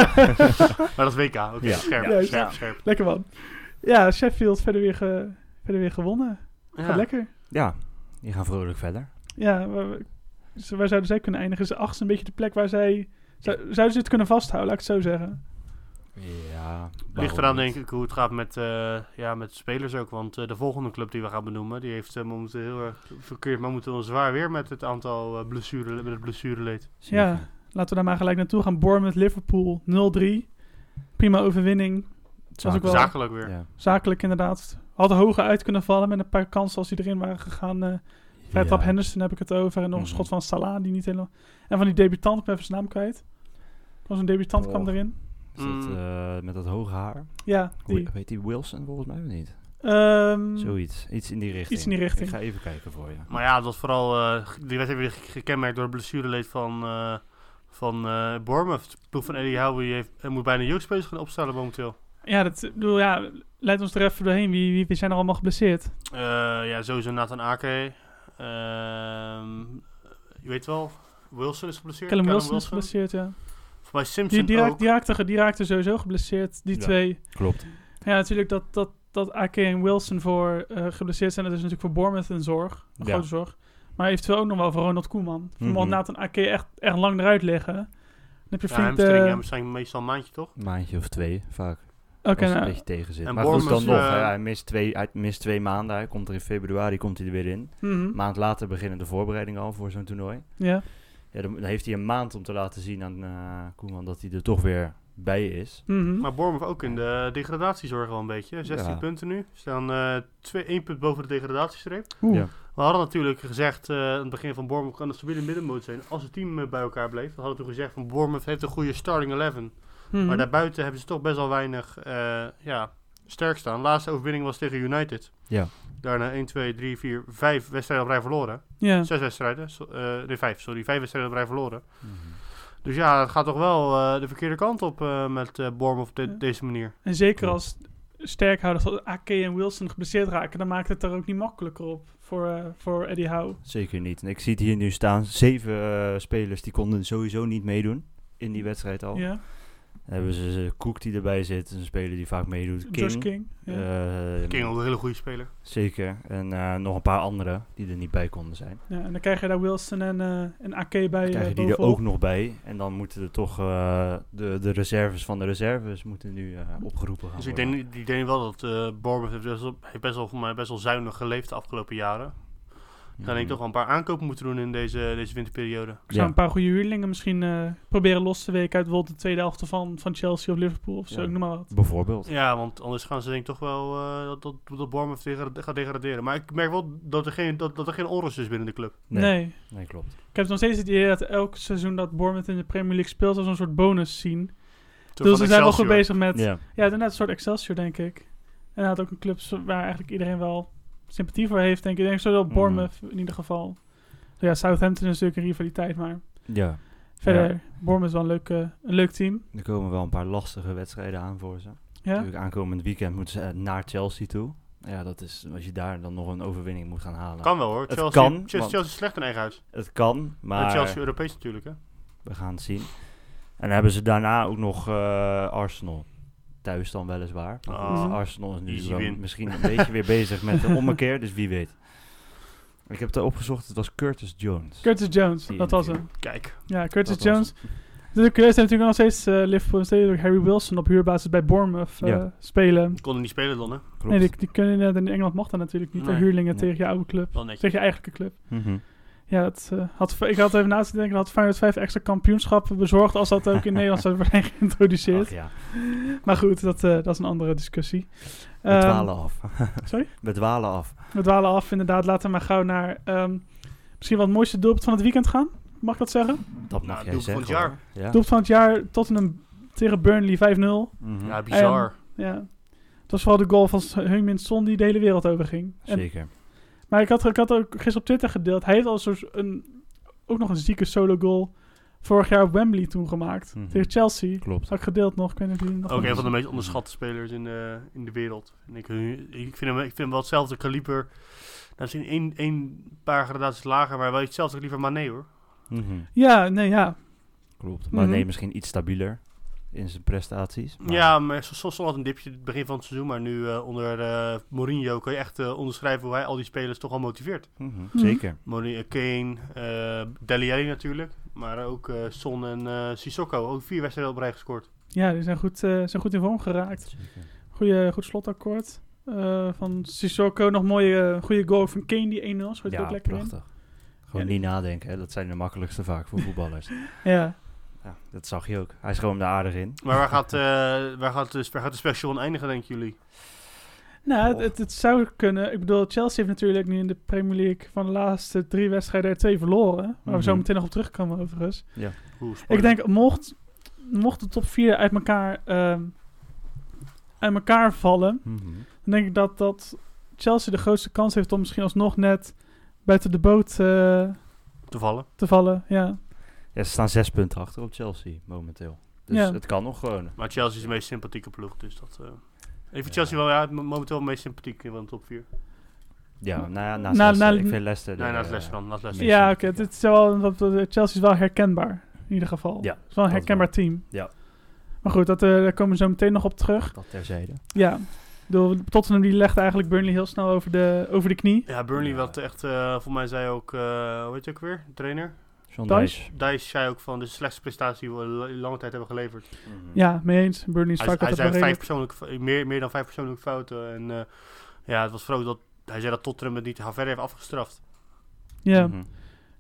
maar dat is WK. Oké, Ja. scherp, Ja. scherp, scherp. Lekker man. Ja, Sheffield verder weer, ge- verder weer gewonnen. Gaat Ja. lekker. ja, die gaan vrolijk verder. Ja, waar, we- ze- waar zouden zij kunnen eindigen? Is de achtste een beetje de plek waar zij... zou- zouden ze het kunnen vasthouden, laat ik het zo zeggen? Ja, Ligt waarom eraan niet? denk ik hoe het gaat met, eh, ja, met spelers ook. Want eh, de volgende club die we gaan benoemen, die heeft eh, momenteel heel erg verkeerd, maar moeten zwaar weer met het aantal eh, blessure, met het blessureleed. Zeker. Ja. Laten we daar maar gelijk naartoe gaan. Bournemouth, Liverpool, 0-3. Prima overwinning. Het was ook wel Zakelijk weer. Ja. zakelijk inderdaad. Hadden hoger uit kunnen vallen met een paar kansen als die erin waren gegaan. eh Vrij trap Ja. Henderson heb ik het over. En nog een Mhm. schot van Salah die niet helemaal... En van die debutant, ik ben even zijn naam kwijt. Was een debutant, kwam Oh. erin. Is dat, Mm. eh, met dat hoge haar. Ja, die. Hoe, heet die Wilson volgens mij of niet? Ehm, Zoiets. Iets in die richting. Iets in die richting. Ik ga even kijken voor je. Maar ja, dat was vooral eh, die wedstrijd weer ge- gekenmerkt door het blessureleed van, eh van eh Bournemouth. De ploeg van Eddie Howe die heeft, eh, moet bijna jeugdspelers gaan opstellen momenteel. Ja, dat, ik bedoel, ja, leid ons er even doorheen. Wie, wie, wie zijn er allemaal geblesseerd? Eh, ja, sowieso Nathan Ake. Ehm, je weet wel, Wilson is geblesseerd. Callum Wilson is geblesseerd, ja. Voor mij Simpson Die, die, raak- ook. die, raakte, die raakte sowieso geblesseerd, die Ja. twee. Klopt. Ja, natuurlijk dat, dat, dat AK en Wilson voor eh, geblesseerd zijn. Dat is natuurlijk voor Bournemouth een zorg, een Ja. grote zorg. Maar eventueel ook nog wel voor Ronald Koeman. Mhm. Want na een AK echt, echt lang eruit liggen, dan heb je eh, Ja, flink hamstring, ja, de... misschien meestal een maandje toch? Een maandje of twee vaak. Oké, als het nou, een beetje tegen zit. En Maar goed, dan Bournemouth, nog. eh, hè, hij, mist twee, hij mist twee maanden. Hij komt er in februari komt hij er weer in. mhm, Een maand later beginnen de voorbereidingen al voor zo'n toernooi. ja. Ja, dan, dan heeft hij een maand om te laten zien aan eh, Koeman dat hij er toch weer bij is. mhm. Maar Bournemouth ook in de degradatiezorg wel een beetje. 16 Ja. punten nu. Staan eh twee, één punt boven de degradatiestreep. Oeh. Ja. We hadden natuurlijk gezegd eh, aan het begin van Bournemouth kan een stabiele middenmoot zijn. Als het team eh, bij elkaar bleef. We hadden toen gezegd van Bournemouth heeft een goede starting 11. mhm. Maar daarbuiten hebben ze toch best wel weinig eh, ja, sterk staan. Laatste overwinning was tegen United. Ja. Daarna 1, 2, 3, 4, 5 wedstrijden op rij verloren. Ja. Zes wedstrijden. so- eh nee, vijf, sorry. Vijf wedstrijden op rij verloren. Mhm. Dus ja, het gaat toch wel eh, de verkeerde kant op eh, met eh Bournemouth op de- Ja. deze manier. En zeker als sterkhouders als AK en Wilson geblesseerd raken, dan maakt het er ook niet makkelijker op voor, eh, voor Eddie Howe. Zeker niet. En ik zie het hier nu staan. Zeven eh, spelers die konden sowieso niet meedoen in die wedstrijd al. Ja, Dan hebben ze eh, Cook die erbij zit, een speler die vaak meedoet. Josh King. King. Ja. eh, King ook een hele goede speler. Zeker. En eh, nog een paar anderen die er niet bij konden zijn. Ja, en dan krijg je daar Wilson en, eh en AK bij. eh, Krijgen die er bovenop. ook nog bij. En dan moeten er toch eh, de, de reserves van de reserves moeten nu eh, opgeroepen gaan Dus ik worden. denk, ik denk wel dat eh Bournemouth heeft best wel, heeft best wel, voor mij best wel zuinig geleefd de afgelopen jaren. Dan denk ik toch wel een paar aankopen moeten doen in deze, deze winterperiode. Ik zou Ja. een paar goede huurlingen misschien eh, proberen los te weken uit bijvoorbeeld de tweede helft van, van Chelsea of Liverpool of zo, Ja. ik noem maar wat. Bijvoorbeeld. Ja, want anders gaan ze denk ik toch wel eh, dat, dat, dat Bournemouth degra- gaat degraderen. Maar ik merk wel dat er geen, dat, dat er geen onrust is binnen de club. Nee. Nee, klopt. Ik heb nog steeds het idee dat elk seizoen dat Bournemouth in de Premier League speelt als een soort bonus zien. Zo Dus van ze zijn wel goed Excelsior. bezig met... Ja. Ja, het is net een soort Excelsior, denk ik. En hij had ook een club zo- waar eigenlijk iedereen wel sympathie voor heeft, denk ik. Ik denk zowel Mhm. Bournemouth in ieder geval. Ja, Southampton is natuurlijk een rivaliteit, maar ja. verder, Bournemouth is wel een leuk, eh, een leuk team. Er komen wel een paar lastige wedstrijden aan voor ze. Ja, Natuurlijk aankomend weekend moeten ze eh, naar Chelsea toe. Ja, dat is als je daar dan nog een overwinning moet gaan halen. Kan wel hoor. Het Chelsea, kan, Chelsea, want- Chelsea is slecht in eigen huis. Het kan, Maar maar Chelsea Europees natuurlijk hè. we gaan het zien. En dan hebben ze daarna ook nog eh, Arsenal. Thuis dan weliswaar. Maar goed, Ah. Arsenal is nu Easy wel win. misschien een beetje weer bezig met de ommekeer, dus wie weet. Ik heb het er opgezocht, het was Curtis Jones. Curtis Jones, Die dat was natuurlijk. hem. Kijk. Ja, Curtis Dat was Jones. De curieus zijn natuurlijk nog steeds eh, Liverpool en steeds door Harry Wilson op huurbasis bij Bournemouth eh, Ja. spelen. Konden niet spelen dan hè. Klopt. Nee, die, die kunnen eh, in Engeland mag dat natuurlijk niet. de Nee. huurlingen Nee. tegen je oude club, Wel netjes. tegen je eigenlijke club. Mhm. Ja, dat, eh, had, ik had even na te denken, had Feyenoord 5 extra kampioenschappen bezorgd als dat ook in Nederland zou worden geïntroduceerd. Ach ja, Maar goed, dat, eh, dat is een andere discussie. we Ehm, dwalen af. sorry? We dwalen af. we dwalen af, inderdaad. Laten we maar gauw naar ehm, misschien wel het mooiste doelpunt van het weekend gaan. Mag ik dat zeggen? Dat Nou, mag jij doelpunt van zeggen. het jaar. hoor. Ja. Doelpunt van het jaar, Tottenham tegen Burnley 5-0. Mhm. Ja, bizar. Ja. Het was vooral de goal van Heung-Min Son die de hele wereld overging. En, Zeker. maar ik had, ik had ook gisteren op Twitter gedeeld. Hij heeft al zo'n een, ook nog een zieke solo goal vorig jaar op Wembley toen gemaakt. Mhm. Tegen Chelsea. Klopt. Had ik gedeeld nog. Ik weet niet of jullie hem nog Ook hebben. een van de meest onderschatte spelers in de, in de wereld. En ik, ik, vind hem, ik vind hem wel hetzelfde kaliber. Nou, misschien één, één paar gradaties lager, maar wel hetzelfde kaliber Mané hoor. Mhm. Ja, nee, ja. Klopt. Maar Mhm. nee, misschien iets stabieler in zijn prestaties. maar- Ja, maar soms had een dipje het begin van het seizoen. Maar nu eh, onder eh, Mourinho kan je echt eh, onderschrijven hoe hij al die spelers toch al motiveert. Mhm, Zeker. Mourinho, Kane, eh Dele Alli natuurlijk. Maar ook eh, Son en eh Sissoko. Ook vier wedstrijden op rij gescoord. Ja, die zijn goed, eh, zijn goed in vorm geraakt. Zeker. Goeie, goed slotakkoord. eh, van Sissoko nog mooie eh, goede goal van Kane, die 1-0. Schoot ja, ook Ja, lekker in. prachtig. Gewoon Ja, niet nadenken, hè. dat zijn de makkelijkste vaak voor voetballers. Ja. ja, dat zag je ook. Hij schoot hem er aardig in. Maar waar gaat, eh, waar, gaat de, waar gaat de special aan eindigen, denken jullie? Nou, het, Och. het, het zou kunnen. Ik bedoel, Chelsea heeft natuurlijk nu in de Premier League van de laatste drie wedstrijden er twee verloren. Waar we zo Mhm. meteen nog op terugkomen overigens. Hoe Ik denk, mocht, mocht de top vier uit elkaar, ehm, uit elkaar vallen, Mhm. dan denk ik dat, dat Chelsea de grootste kans heeft om misschien alsnog net buiten de boot eh, te vallen. te vallen. Ja. Ja, ze staan zes punten achter op Chelsea momenteel. Dus Ja. het kan nog gewoon. Maar Chelsea is de meest sympathieke ploeg, dus dat... eh ik vind Ja. Chelsea wel ja, mo- momenteel de meest sympathiek van de top 4. Ja, Maar- na, naast na- Leicester. na- ik vind Leicester... nee, er, naast eh, Leicester dan. Naast Leicester. Ja, Ja. oké. dit is wel, dat- dat- Chelsea is wel herkenbaar. In ieder geval. Ja, het is wel een dat herkenbaar team. Ja. Maar goed, dat, eh, daar komen we zo meteen nog op terug. Dat terzijde. Ja. Ik bedoel, Tottenham die legt eigenlijk Burnley heel snel over de, over de knie. Ja, Burnley Ja. wat echt... eh volgens mij zei ook... eh hoe heet je ook weer? De trainer? John Thuis? Dice. Dijs zei ook van de slechtste prestatie die we l- lange tijd hebben geleverd. Mhm. Ja, mee eens. Burnley is Hij, vaak hij zei altijd wel vijf redelijk. persoonlijke, fou- meer, meer dan vijf persoonlijke fouten. En eh, ja, het was vooral ook dat... Hij zei dat Tottenham het niet verder heeft afgestraft. Ja, Mhm.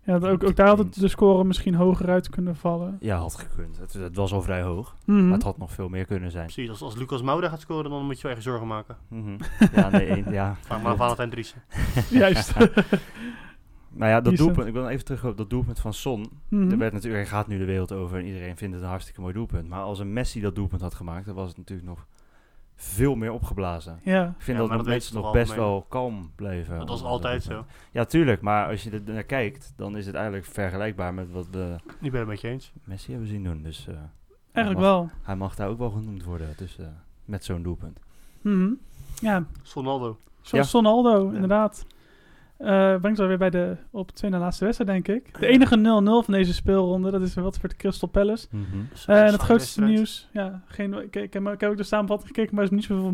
ja dat ook, ook daar had het de score misschien hoger uit kunnen vallen. Ja, had gekund. Het, het was al vrij hoog, Mhm. maar het had nog veel meer kunnen zijn. Precies, als, als Lucas Moura gaat scoren, dan moet je wel echt zorgen maken. Mhm. Ja, nee, één- ja. Vraag maar aan Valentijn Driessen. Juist. Nou ja, dat Die is het. doelpunt, ik wil even terug op dat doelpunt van Son. Mhm. Er werd natuurlijk, hij gaat nu de wereld over en iedereen vindt het een hartstikke mooi doelpunt. Maar als een Messi dat doelpunt had gemaakt, dan was het natuurlijk nog veel meer opgeblazen. Ja. Ik vind Ja, dat, maar nog dat mensen weten nog we toch best algemeen. wel kalm blijven. Dat was onder altijd zo. doelpunt. Ja, tuurlijk. Maar als je er naar kijkt, dan is het eigenlijk vergelijkbaar met wat we Ik ben het met je eens. Messi hebben zien doen. Dus eh, Eigenlijk wel. hij mag daar ook wel genoemd worden dus, eh, met zo'n doelpunt. Mhm. Ja, Eh, Sonaldo. zoals Ja. Sonaldo, Ja. inderdaad. Eh brengt alweer bij de op twee na laatste wedstrijd, denk ik. De enige 0-0 van deze speelronde, dat is wat voor de Crystal Palace. Eh, en het grootste nieuws, ja, geen, ik, ik, heb, ik heb ook de samenvatting gekeken, maar er is niet zoveel van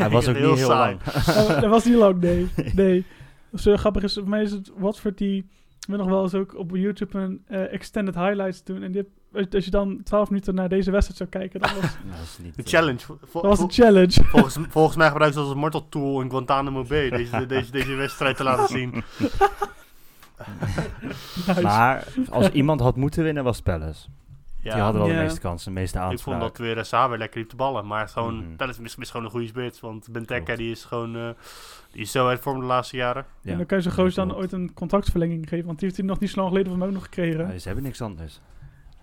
Hij was ook niet Heel heel, saai. lang. Eh, dat was niet lang, nee. nee. Zo grappig is, voor mij is het Watford die wil nog wel eens ook op YouTube een eh, extended highlights doen. En dit, als je dan 12 minuten naar deze wedstrijd zou kijken, dat was, Nou, dat is niet, De eh, challenge. Vo- vo- dat was vo- een challenge. volgens, volgens mij gebruikt ze dat als mortal tool in Guantanamo Bay. Deze, de- deze, deze wedstrijd te laten zien. Nice. Maar als iemand had moeten winnen, was Palace. Die Ja, hadden wel Ja. de meeste kansen, de meeste ik vond aanspraken. dat weer Saar weer lekker liep te ballen. Maar gewoon, Mhm. dat is mis, mis gewoon een goede spits. Want Benteke Klopt. die is gewoon eh, die is zo uit vorm de laatste jaren. Ja. En dan kan je zo'n goos dan klopt. ooit een contractverlenging geven, want die heeft hij nog niet zo lang geleden van mij ook nog gekregen. Nee, ze hebben niks anders.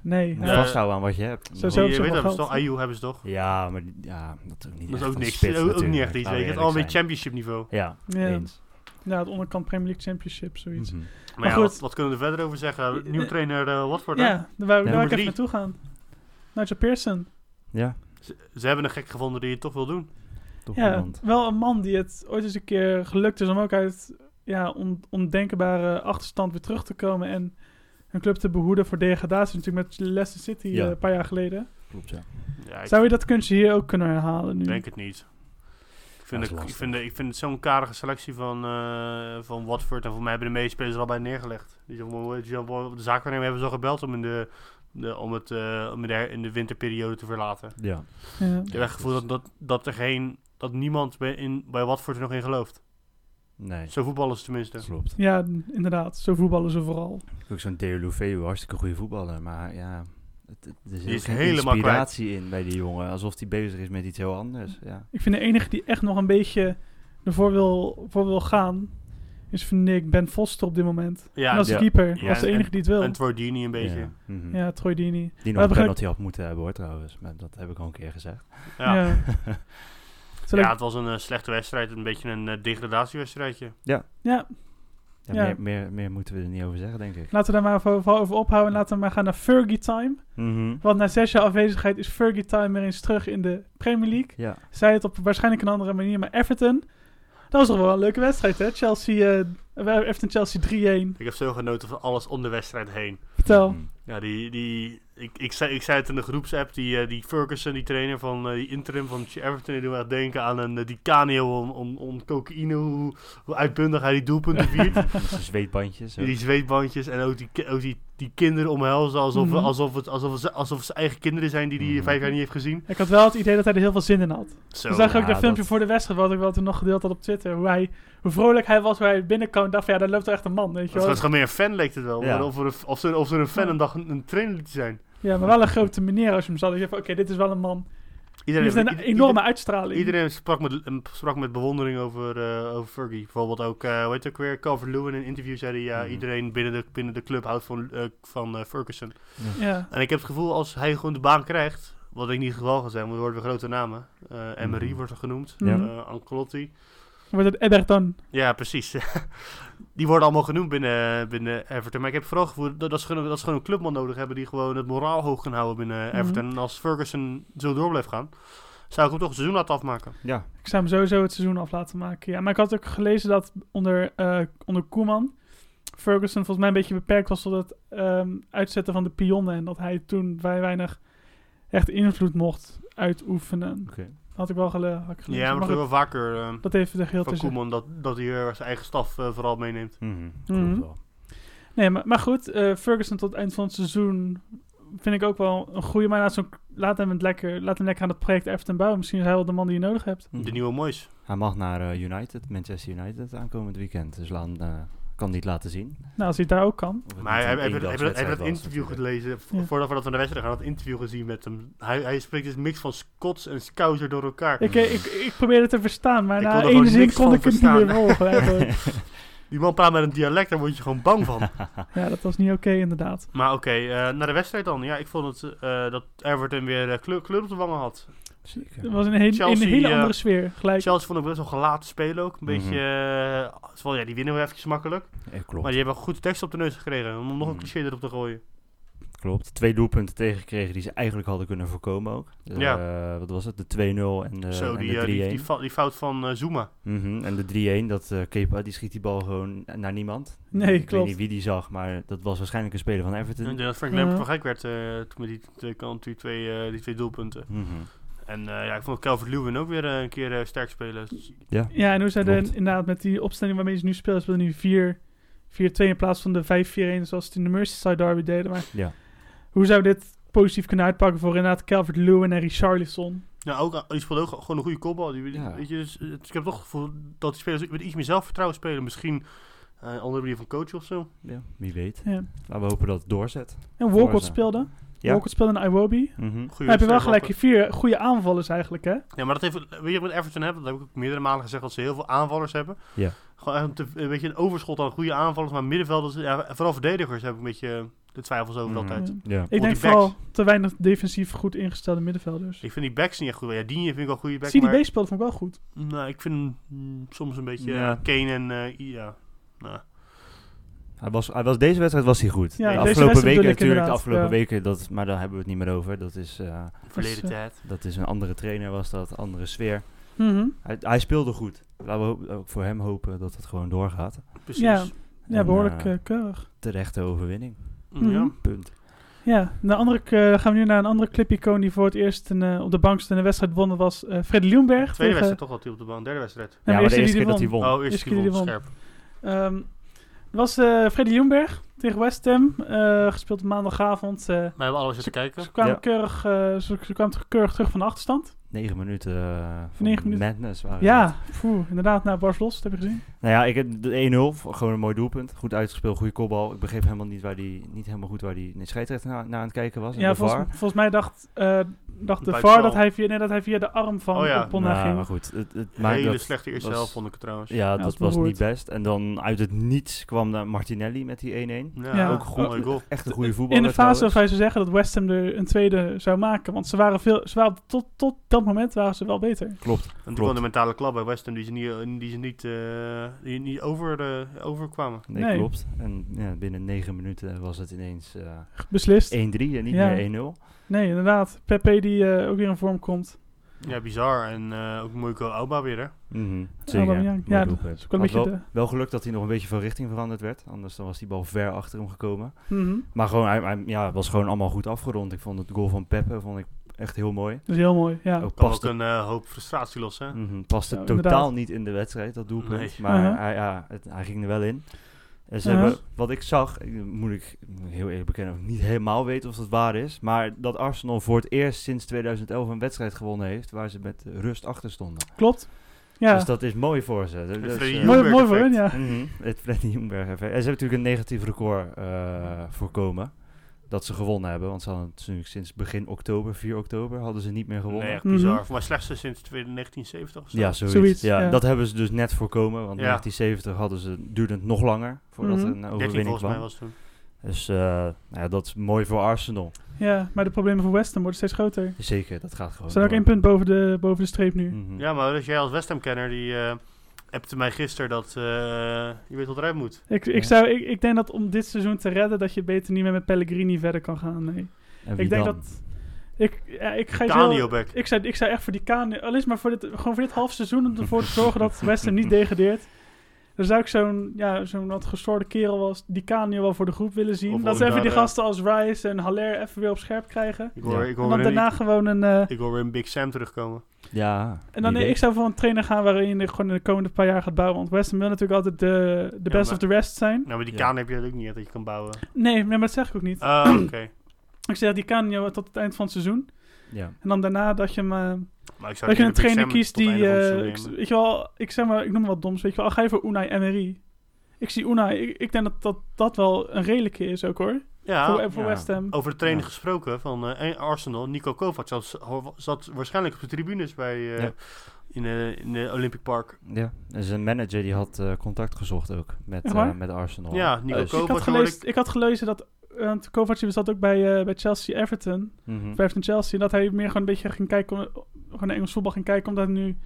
Nee, Je moet nou, Ja. vasthouden aan wat je hebt. Zo- Die, zo- eh, weet wel je, hebben ze toch? geld, Ayew hebben ze toch? Ja, maar die- ja, dat is ook Dat niet is echt ook een niks. spits Ook- ook niet natuurlijk, echt iets. Weet laten we je. Het is eerlijk alweer zijn. championship niveau. Ja, ja, eens. ja, het onderkant Premier League Championship, zoiets. Mhm. Maar, Maar ja, goed. Wat, wat kunnen we er verder over zeggen? Nieuwe Eh, trainer eh, Watford. hè? Ja, daar wou, daar Ja, wou nummer ik even drie. naartoe gaan. Nigel Pearson. Ja, Ze, ze hebben een gek gevonden die het toch wil doen. toch Ja, iemand. wel een man die het ooit eens een keer gelukt is om ook uit ja, on- ondenkbare achterstand weer terug te komen en een club te behoeden voor degradatie. Natuurlijk met Leicester City Ja. eh, een paar jaar geleden. Klopt, ja. Ja, ik- Zou je dat kunstje hier ook kunnen herhalen nu? Ik denk het niet. Ik vind, Dat is het, ik lastig. vind, de- ik vind het zo'n karige selectie van, eh, van Watford. En voor mij hebben de meeste spelers er al bij neergelegd. Die zeggen, "Wow, weet je wel, De zaakwaarnemer hebben ze al gebeld om in de, de- om het, eh, om in de, her- in de winterperiode te verlaten. Ik Ja. Ja. heb echt het gevoel dat, dat, dat er geen... Dat niemand bij, in, bij Watford er nog in gelooft. Nee, Zo voetballen ze tenminste. klopt. Ja, n- inderdaad. Zo voetballen ze vooral. Ook zo'n Theo Loufeu, hartstikke goede voetballer. Maar ja, het, het- er Die zit is geen helemaal kwijt. inspiratie in bij die jongen. Alsof hij bezig is met iets heel anders. Ja. Ik vind de enige die echt nog een beetje ervoor wil, voor wil gaan, is vind ik Ben Foster op dit moment. en Ja, dat en, is ja. de keeper. Ja, dat is de en- enige die het wil. en Twardini een beetje. Ja. mhm. ja, Troy Dini. Die Maar nog een begrijp- penalty had moeten hebben hoor trouwens. Maar dat heb ik al een keer gezegd. Ja. Ja. Zal ik- Ja, het was een eh, slechte wedstrijd. Een beetje een eh, degradatiewedstrijdje. ja, Ja, Ja. Meer, meer, meer moeten we er niet over zeggen, denk ik. laten we daar maar voor- vooral over ophouden. En laten we maar gaan naar Fergie Time. Mhm. Want na zes jaar afwezigheid is Fergie Time weer eens terug in de Premier League. Ja. Zij het op waarschijnlijk een andere manier, maar Everton. Dat was toch wel een leuke wedstrijd, hè? Chelsea, eh Everton Chelsea 3-1. Ik heb zo genoten van alles om de wedstrijd heen. Vertel. Mhm. Ja, die, die, ik, ik, zei, ik zei het in de groepsapp, die, eh, die Ferguson, die trainer van eh, die interim van Everton, die doet me echt denken aan een eh, die Canio om, om, om cocaïne, hoe, hoe uitbundig hij die doelpunten viert. Met zijn Dus zweetbandjes. Die zweetbandjes en ook die, ki- ook die, die kinderen omhelzen alsof, Mhm. alsof, het, alsof, het, ze- alsof het zijn eigen kinderen zijn die hij Mhm. vijf jaar niet heeft gezien. Ik had wel het idee dat hij er heel veel zin in had. Zo. dus zag ik ook ja, dat filmpje dat- voor de wedstrijd, wat ik wel toen nog gedeeld had op Twitter. Hoe, hij, hoe vrolijk hij was, hoe hij binnenkwam. Ik dacht van, ja, daar loopt er echt een man, weet je Het wel. was gewoon meer een fan leek het wel. Ja. Of, er, een- of, ze, of ze een fan een dag een, een trainer liet zijn. Ja, maar wel een grote meneer als je hem zag. Ik dacht van, oké, dit is wel een man. Die Iedereen, heeft een ieder- enorme ieder- uitstraling. Iedereen sprak met, m- sprak met bewondering over, eh, over Fergie. Bijvoorbeeld ook, eh hoe heet het ook weer, Calvert Lewin in een interview zei hij... ja, Mhm. iedereen binnen de, binnen de club houdt van, eh, van eh, Ferguson. Ja. En ik heb het gevoel, als hij gewoon de baan krijgt... wat ik niet het geval ga zijn, want er worden weer grote namen. Eh Emery Mhm. wordt er genoemd, Ja. eh, Ancelotti. Mm. Wordt het Everton. Ja, precies. die worden allemaal genoemd binnen, binnen Everton. Maar ik heb vooral het gevoel dat, dat, ze gewoon, dat ze gewoon een clubman nodig hebben... die gewoon het moraal hoog kan houden binnen Mhm. Everton. En als Ferguson zo door blijft gaan... zou ik hem toch een seizoen laten afmaken. Ja. Ik zou hem sowieso het seizoen af laten maken. Ja, maar ik had ook gelezen dat onder, eh, onder Koeman... Ferguson volgens mij een beetje beperkt was tot het ehm, uitzetten van de pionnen. En dat hij toen vrij weinig echt invloed mocht uitoefenen. Oké. Dat had ik wel gele- had ik gelezen. Ja, maar dat Maar doen goed, we vaker eh, dat even de geheel van tussen. Koeman, dat, dat hij eh, zijn eigen staf eh, vooral meeneemt. Mhm. Mhm. Klopt wel. Nee, maar, maar goed, eh, Ferguson tot het eind van het seizoen vind ik ook wel een goede. Maar laat, zo'n- laat, hem, het lekker, laat hem lekker aan het project Everton bouwen. Misschien is hij wel de man die je nodig hebt. Mhm. De nieuwe Moois. Hij mag naar eh, United, Manchester United aankomend weekend. Dus laat, eh, kan niet laten zien. Nou, als hij het daar ook kan. Of het Maar niet hij- een hij heeft eendagswedstrijd dat was, eh, interview natuurlijk. gelezen, v- Ja. voordat we dat van de wedstrijd gaan, dat interview gezien met hem. Hij, hij spreekt dus mix van Scots en Scouser door elkaar. Ik, eh, ik, ik probeerde te verstaan, maar Ik kon na er gewoon één zin niks kon van ik het niet meer volgen. eigenlijk. Die man praat met een dialect, daar word je gewoon bang van. ja, dat was niet oké inderdaad. maar oké, eh, naar de wedstrijd dan. Ja, ik vond het eh, dat Everton weer eh, kleur, kleur op de wangen had. Zeker. Het was een, hele Chelsea, een hele eh, andere sfeer. Gelijk. Chelsea vond ik best wel gelaten spelen ook. Een Mhm. beetje, eh, zo van, ja, die winnen we eventjes makkelijk. Ja, klopt. Maar die hebben goed tekst op de neus gekregen, om nog een Mm. cliché erop te gooien. Klopt. Twee doelpunten tegengekregen die ze eigenlijk hadden kunnen voorkomen ook. Eh, wat was het? De 2-0 en de, Zo, en die, de 3-1. eh, die, die, fa- die fout van eh, Zuma. Mhm, En de 3-1, dat eh Kepa, die schiet die bal gewoon naar niemand. Nee, ik weet klopt. niet wie die zag, maar dat was waarschijnlijk een speler van Everton. Ik denk eh, dat Frank Ja. Lampard van gek werd eh, toen met die twee kant, die twee, eh, die twee doelpunten. Mhm. En eh, ja, ik vond Calvert Lewin ook weer eh, een keer eh, sterk spelen. Ja. Ja, en hoe zij er Klopt. inderdaad met die opstelling waarmee ze nu spelen, ze willen nu 4 4-2 in plaats van de 5-4-1 zoals het in de Merseyside derby deden. Maar Ja. hoe zou dit positief kunnen uitpakken voor inderdaad Calvert-Lewin en Richarlison? Nou, ook, eh, die speelde ook gewoon een goede kopbal. Die, Ja. weet je, dus, eh, ik heb toch het gevoel dat die spelers met iets meer zelfvertrouwen spelen. Misschien eh, een andere manier van coachen of zo. ja, wie weet. Ja. Laten we hopen dat het doorzet. En Walcott Forza. speelde. Ja. Walcott speelde in Iwobi. Mhm. Goeie Dan heb je wel gelijk je sterke vier goede aanvallers eigenlijk, hè? Ja, maar dat heeft, weet je wat met Everton hebben? Dat heb ik ook meerdere malen gezegd, dat ze heel veel aanvallers hebben. Ja. Gewoon echt een, te- een beetje een overschot aan goede aanvallers. Maar middenvelders, ja, vooral verdedigers, heb ik een beetje eh, de twijfels over Mhm. altijd. Ja. Ja. Ik denk backs. vooral te weinig defensief goed ingestelde middenvelders. Ik vind die backs niet echt goed. Ja, Digne vind ik wel een goede back. CDB maar- speelde vond ik wel goed. Nou, ik vind hem mm, soms een beetje Ja. eh, Kane en eh, I- ja. Nou, Hij was, hij was, deze wedstrijd was hij goed. Ja, de deze afgelopen wedstrijd weken bedoel ik natuurlijk, de inderdaad, afgelopen ja. weken, dat, maar daar hebben we het niet meer over. Dat is, eh, verleden Dus, eh, tijd. dat is een andere trainer was dat, andere sfeer. Mhm. Hij, hij speelde goed. Laten we ho- ook voor hem hopen dat het gewoon doorgaat. Precies. ja. Ja. Ja, En, behoorlijk eh, eh, keurig. terechte overwinning. Mm, Mhm. Punt. Ja, de andere, eh, gaan we nu naar een andere clipicoon die voor het eerst een, eh, op de bank stond en een wedstrijd won. Dat was eh Freddy Ljungberg. Tweede tegen- wedstrijd toch had hij op de bank. Derde wedstrijd. Nee, ja, maar maar de eerste die keer dat die hij won. Oh, eerst keer keer die won. won. Scherp. Ehm, het was eh Freddy Ljungberg tegen West Ham. eh, gespeeld op maandagavond. eh, We hebben alles zitten kijken. ze, kwamen Ja. keurig, eh, ze, ze kwamen terug- keurig terug van de achterstand. Negen minuten eh van Negen minuten. madness waren het. Ja, poeh, inderdaad, naar Bars Los, dat heb je gezien. Nou ja, ik heb de 1-0, gewoon een mooi doelpunt. Goed uitgespeeld, goede kopbal. Ik begreep helemaal niet, waar die, niet helemaal goed waar die scheidsrechter naar, naar aan het kijken was. en Ja, de VAR. volgens, volgens mij dacht eh, dacht de Bij VAR Sal. dat hij, via, nee, dat hij via de arm van Oh oh, ja. Nou, maar ging. goed. Het, het Een maakt hele dat- slechte eerste was- helft vond ik het trouwens. Ja, Ja, dat dat was niet behoort. best. En dan uit het niets kwam daar Martinelli met die 1-1. Ja, Ja. ook goed. Mooie goal. Echt een goede voetballer. In de fase trouwens. waarvan ze zeggen dat West Ham er een tweede zou maken. Want ze waren veel, ze waren tot, tot dat moment waren ze wel beter. Klopt. En toen Klopt. kwam de mentale klap bij West Ham die ze niet, die ze niet, eh, die niet over, eh, overkwamen. Nee, Nee. klopt. En ja, binnen 9 minuten was het ineens eh, 1-3 Beslist. en niet Ja. meer 1-0. Nee, inderdaad. Pepe die eh, ook weer in vorm komt. Ja, bizar. En eh, ook Moeiko Auba weer, hè? Mhm, Zeker. Oh, Aubameyang. Mooi Ja, doelpunt. dat is ook wel Had een beetje de... Wel geluk dat hij nog een beetje van richting veranderd werd. Anders dan was die bal ver achter hem gekomen. Mhm. Maar gewoon, hij, hij- ja, het was gewoon allemaal goed afgerond. Ik vond het goal van Peppe vond ik echt heel mooi. Dat is heel mooi, ja. Ook Kan ook paste, een eh, hoop frustratie lossen. hè? mhm, paste Ja, totaal inderdaad. niet in de wedstrijd, dat doelpunt. Nee. Maar Uh-huh. hij, ja, het- hij ging er wel in. En ze Uh-huh. hebben, wat ik zag, ik- moet ik moet ik heel eerlijk bekennen, of ik niet helemaal weet of dat waar is. Maar dat Arsenal voor het eerst sinds 2011 een wedstrijd gewonnen heeft waar ze met rust achter stonden. Klopt. Ja, Dus dat is mooi voor ze. Dus, Freddy eh, Jong- mooi, Nürnberg mooi voor hun, ja. Mhm, Het Freddy Jongberg effect. En ze hebben natuurlijk een negatief record eh, voorkomen. Dat ze gewonnen hebben. Want ze hadden natuurlijk sinds begin oktober, 4 oktober, hadden ze niet meer gewonnen. Nee, echt bizar. Mhm. Voor mij slechtste sinds 1970 of zo. ja, zoiets. Zoiets, ja, ja. Dat hebben ze dus net voorkomen. Want Ja. 1970 hadden ze, duurde het nog langer voordat Mhm. er een 13 overwinning volgens mij kwam. was het toen. Dus eh, nou ja, dat is mooi voor Arsenal. Ja, maar de problemen voor West Ham worden steeds groter. Zeker, dat gaat gewoon. Ze zijn ook door. één punt boven de, boven de streep nu. Mhm. Ja, maar dus jij als West Ham kenner, die eh appte mij gisteren dat eh, je weet wat eruit moet. Ik, Ja. ik, zou, ik, ik denk dat om dit seizoen te redden, dat je beter niet meer met Pellegrini verder kan gaan. Nee. En wie Ik denk dan? dat... Ik, ja, ik, ga iets Canio heel- back. ik, zou, ik zou echt voor die Kane... Alleen maar voor dit, gewoon voor dit half seizoen om ervoor te zorgen dat West Ham niet degradeert. Dan zou ik zo'n ja, zo'n wat gestoorde kerel als die Kane wel voor de groep willen Of zien. Dat ze Ondara. even die gasten als Rice en Haller even weer op scherp krijgen. Ik hoor, Ja. ik En hoor, dan weer, daarna een, gewoon een... eh, ik hoor weer een Big Sam terugkomen. Ja. En dan, wie nee, weet. ik zou voor een trainer gaan waarin je gewoon in de komende paar jaar gaat bouwen. Want West Ham wil natuurlijk altijd de, de Ja, best maar- of the rest zijn. Nou, maar die Ja. kaan heb je natuurlijk niet echt dat je kan bouwen. Nee, nee, maar dat zeg ik ook niet. Ah, oké. Ik zeg, die kan je tot het eind van het seizoen. Ja. En dan daarna dat je, hem, eh, Maar ik zou dat je geen een Big trainer Sam kiest tot het die... einde van het eh, seizoen ik, nemen. weet je wel, ik zeg maar, ik noem wat doms. Weet je wel, al ga je voor Unai Emery. Ik zie Unai, ik, ik denk dat, dat dat wel een redelijke is ook hoor. Ah, ja, voor voor ja. West Ham. over de trainer Ja. gesproken van eh, Arsenal. Nico Kovac zat, zat waarschijnlijk op de tribunes bij, eh, Ja. in, eh, in de Olympic Park. Ja, en zijn manager die had eh, contact gezocht ook met, Echt eh, waar? met Arsenal. Ja, Nico Dus- ik, Kovac had hoorde gelezen, ik... had gelezen dat... Want Kovac die zat ook bij, eh, bij Chelsea Everton. Hm. Mhm. Vijfde Chelsea. Dat hij meer gewoon een beetje ging kijken... om- Gewoon naar Engels voetbal ging kijken. Omdat hij nu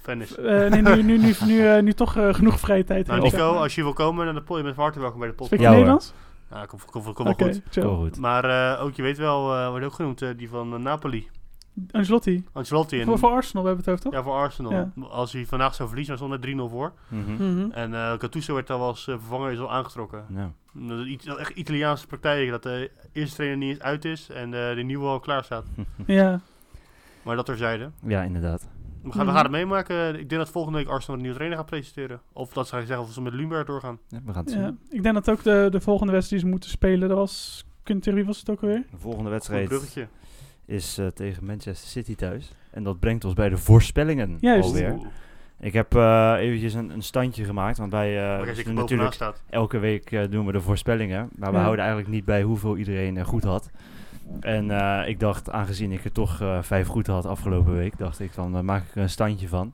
Venice. Eh, nee, nu, nu, nu, nu, eh, nu toch eh, genoeg vrije tijd nou, heeft. Nico, als je wil komen, dan ben je met harte welkom bij de Spreek podcast. je Ja, hoor. Nederlands? Nou, kom, kom, kom, kom wel goed. chill. Wel goed. Maar eh, ook, je weet wel, eh wordt ook genoemd, eh, die van eh, Napoli. Ancelotti. Ancelotti. En, Voor, voor Arsenal hebben we het over, toch? ja, voor Arsenal. Ja. Als hij vandaag zou verliezen, dan stond er 3-0 voor. Mhm. Mhm. En eh Gattuso werd al als eh, vervanger is al aangetrokken. Nou, Dat is iets- dat is echt Italiaanse praktijk, dat de eerste trainer niet eens uit is en eh, de nieuwe al klaar staat. Ja. Maar dat terzijde. Ja, inderdaad. We Mhm. gaan, we gaan het meemaken. Ik denk dat volgende week Arsenal een nieuwe trainer gaat presenteren. Of dat zou zeggen of ze met Lumberg doorgaan. Ja, we gaan het ja. zien. Ik denk dat ook de, de volgende wedstrijd die ze moeten spelen, dat was... Kun, tegen wie was het ook alweer? De volgende Goed wedstrijd bruggetje. is eh, tegen Manchester City thuis. En dat brengt ons bij de voorspellingen Juist. alweer. Oeh. Ik wij even eventjes een, een standje gemaakt, want wij eh, Maar kijk, we als ik doen er bovenaan natuurlijk staat. elke week eh, doen we de voorspellingen. Maar we Ja. houden eigenlijk niet bij hoeveel iedereen eh, goed had. En eh, ik dacht, aangezien ik er toch eh, vijf goed had afgelopen week, dacht ik van, dan maak ik er een standje van.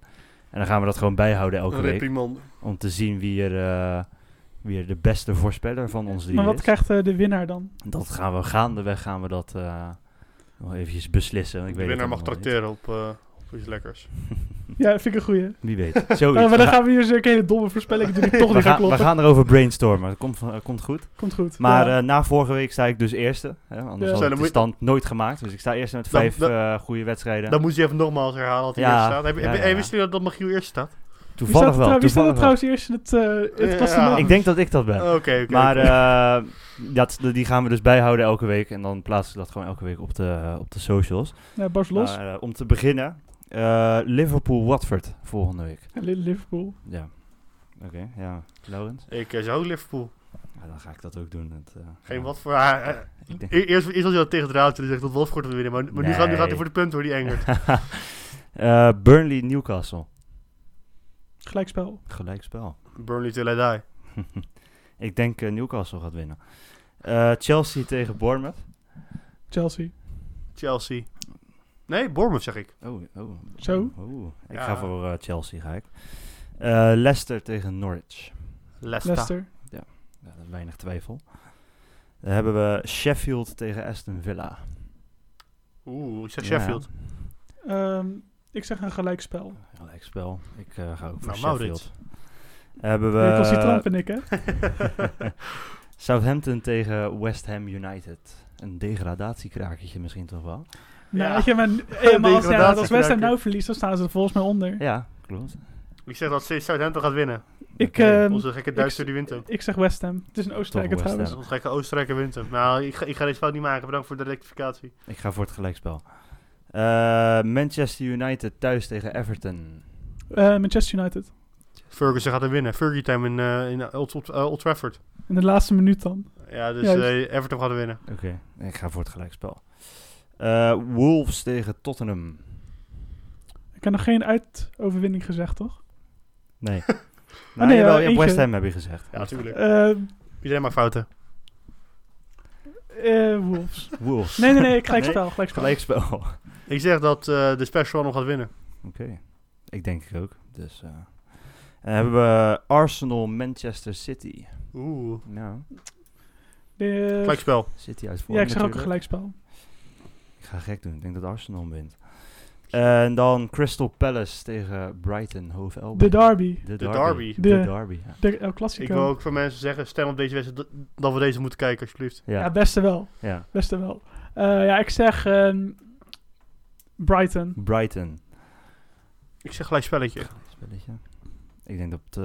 En dan gaan we dat gewoon bijhouden elke week. Om te zien wie er, eh, wie er de beste voorspeller van ons drie Maar wat is. krijgt eh, de winnaar dan? Dat gaan we gaandeweg gaan we dat eh, nog eventjes beslissen. want Ik de weet winnaar het mag allemaal tracteren op, eh, op iets lekkers. Ja, vind ik een goeie. niet. Wie weet. Zoiets. Eh, maar Hm. We dan gaan we hier eens een hele domme voorspelling doen die toch niet we, gaat gaan, we kloppen. gaan erover brainstormen. Dat komt, van- komt goed. Komt goed. Maar ja. eh, na vorige week sta ik dus eerste. Hè, anders Ja. had Zo, ik dan de moet- stand nooit gemaakt. Dus ik sta eerste met Dan- vijf dan- eh, goede wedstrijden. Dan moet je even nogmaals herhalen dat hij Ja. eerst staat. Heb, je- Ja, heb je- ja, ja. Wist je dat, dat Magiel eerst staat? wie staat, toevallig er wel. trouw- wie staat er Toevallig wel. trouwens eerst in het, eh Ja. het klassement? Ik denk dat ik dat ben. Oké, Oh, oké. maar oké. eh, dat, die gaan we dus bijhouden elke week. En dan plaatsen we dat gewoon elke week op de, op de socials. Ja, Bas Los. Maar, eh, om te beginnen, eh, Liverpool-Watford volgende week. Ja, Liverpool. Ja. Oké, ja. Laurens? ik eh, zou ook Liverpool. Ja, dan ga ik dat ook doen. Het, eh, Geen ja. wat voor haar. Ik denk- Eerst, eerst was hij dat tegen de raad en zegt dat Wolfsburg wil winnen. Maar, maar nu, gaat, nu gaat hij voor de punten hoor, die Engert. Eh, Burnley-Newcastle. Gelijkspel. Gelijkspel. Burnley till I die. ik denk eh, Newcastle gaat winnen. Eh, Chelsea tegen Bournemouth. Chelsea. Chelsea. Nee, Bournemouth zeg ik. Oh, oh. Zo? Oh, ik Ja. ga voor eh, Chelsea, ga ik. Eh, Leicester tegen Norwich. Leicester. Leicester. Ja, dat is weinig twijfel. Dan hebben we Sheffield tegen Aston Villa. Oeh, ik zeg Ja. Sheffield. Ehm, ik zeg een gelijkspel. Gelijkspel. Ik eh, ga ook voor Nou, Maurits. Sheffield. Hebben we... Uh, Recalcitrant ben ik, hè? Southampton tegen West Ham United. Een degradatiekrakertje misschien toch wel? Nou, ik heb een, eh, maar als, ja, als West Ham nou verliest, dan staan ze er volgens mij onder. Ja, klopt. Ik zeg dat Southampton gaat winnen. Ik, Oké, ehm, Onze gekke Duitser die wint hem. ik zeg West Ham. Het is een Oostenrijker West Ham. trouwens. Onze gekke Oostenrijker wint hem. Nou, ik ga, ik ga deze fout niet maken. Bedankt voor de rectificatie. Ik ga voor het gelijkspel. Eh, Manchester United thuis tegen Everton. Eh, Manchester United. Ferguson gaat hem winnen. Fergie time in, eh, in Old, Old- eh, Old Trafford. In de laatste minuut dan. Ja, dus Juist. eh, Everton gaat hem winnen. Oké, ik ga voor het gelijkspel. Eh, Wolves tegen Tottenham. Ik heb nog geen uitoverwinning gezegd, toch? Nee. nee, nou, nee, eh, eentje. West Ham heb je gezegd. Ja, natuurlijk. Eh Iedereen maakt fouten. eh, Wolves. Wolves. Nee, nee, nee, gelijkspel. gelijkspel. Gelijkspel. Oké. Ik zeg dat eh, de Special nog gaat winnen. Ik denk ik ook. Dus, eh. Dan hebben we Arsenal Manchester City. Oeh. Nou, Eh, Gelijkspel. City uit vorm ja, ik zeg ook een natuurlijk. gelijkspel. Ik ga gek doen. Ik denk dat Arsenal wint. En dan Crystal Palace tegen Brighton, Hove Albion. De derby. De De derby. derby. De, De- derby, ja. De El Ik Clasico. wil ook voor mensen zeggen, stem op deze wedstrijd dat- dat we deze moeten kijken, alsjeblieft. Ja, Ja, beste wel. ja. Beste wel. Eh, ja, ik zeg ehm, Brighton. Brighton. Ik zeg gelijk spelletje. Spelletje. Ik denk dat... eh,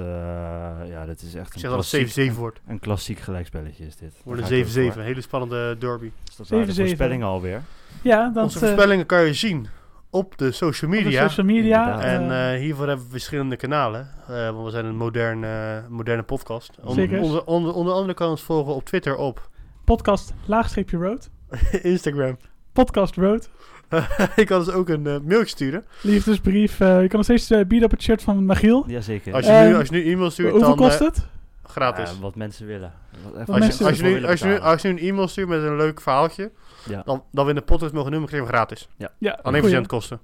ja, dat is echt Ik een zeg dat het klassiek- 7-7 wordt. Een klassiek gelijkspelletje is dit. Wordt Daar een ga ik ook 7-7. voor. Hele spannende derby. Is dat nou de 7-7. voorspellingen alweer? Ja, dat Onze eh, voorspellingen kan je zien op de social op de media. social media. Inderdaad. eh, En eh, hiervoor hebben we verschillende kanalen. eh, want we zijn een moderne, eh, moderne podcast. On- Zeker. Onder, onder, onder andere kan je ons volgen op Twitter, op podcast laagstreepje road. Instagram. Podcast road. je kan dus ook een eh mail sturen. Liefdesbrief. eh, je kan nog steeds eh, bieden op het shirt van Magiel. Jazeker. Als je, Ehm, nu, als je nu e-mail stuurt, Hoeveel dan eh, kost het? gratis. Ja, wat mensen willen. Wat, even als, je, mensen als, je ervoor nu, willen als, je nu, betalen. als je nu een e-mail stuurt met een leuk verhaaltje, Ja. dan, dan we in de dus podcast mogen noemen, krijg je hem gratis. Ja, Alleen goeie. voor kosten.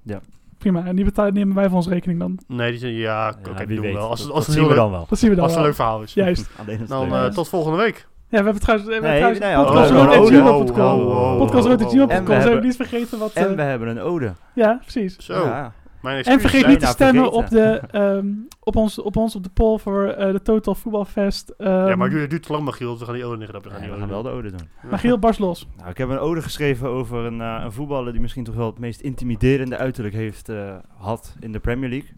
Prima. En die betalen, nemen wij van ons rekening dan. Nee, die zijn, ja, oké, Ja, die wie doen we weet. wel. Als, Dat- het- dat als, het zien heel we leuk- dan wel. Dat zien we dan als het een wel. leuk verhaal is. Juist. Alleen als Dan het leuk eh, is. tot volgende week. Ja, we hebben trouwens, we hebben Nee, trouwens nee, podcast oh, road at oh, gmail.com. oh, oh, oh, oh. Podcast road at En gmail.com. we Ze hebben hebben- niet vergeten wat... eh, En we hebben een ode. ja, precies. Zo, Ja. mijn excuses En vergeet zijn- niet te nou stemmen op, de, vergeten. ehm, op, ons, op ons op de poll voor eh, de Total Voetbalfest. ehm Ja, maar het duurt- het duurt te lang, Magiel. dus We gaan die oren liggen. We gaan die Nee, we oren gaan wel niet de ode doen. Magiel, barst los. Nou, ik heb een ode geschreven over een, eh, een voetballer die misschien toch wel het meest intimiderende uiterlijk heeft eh had in de Premier League.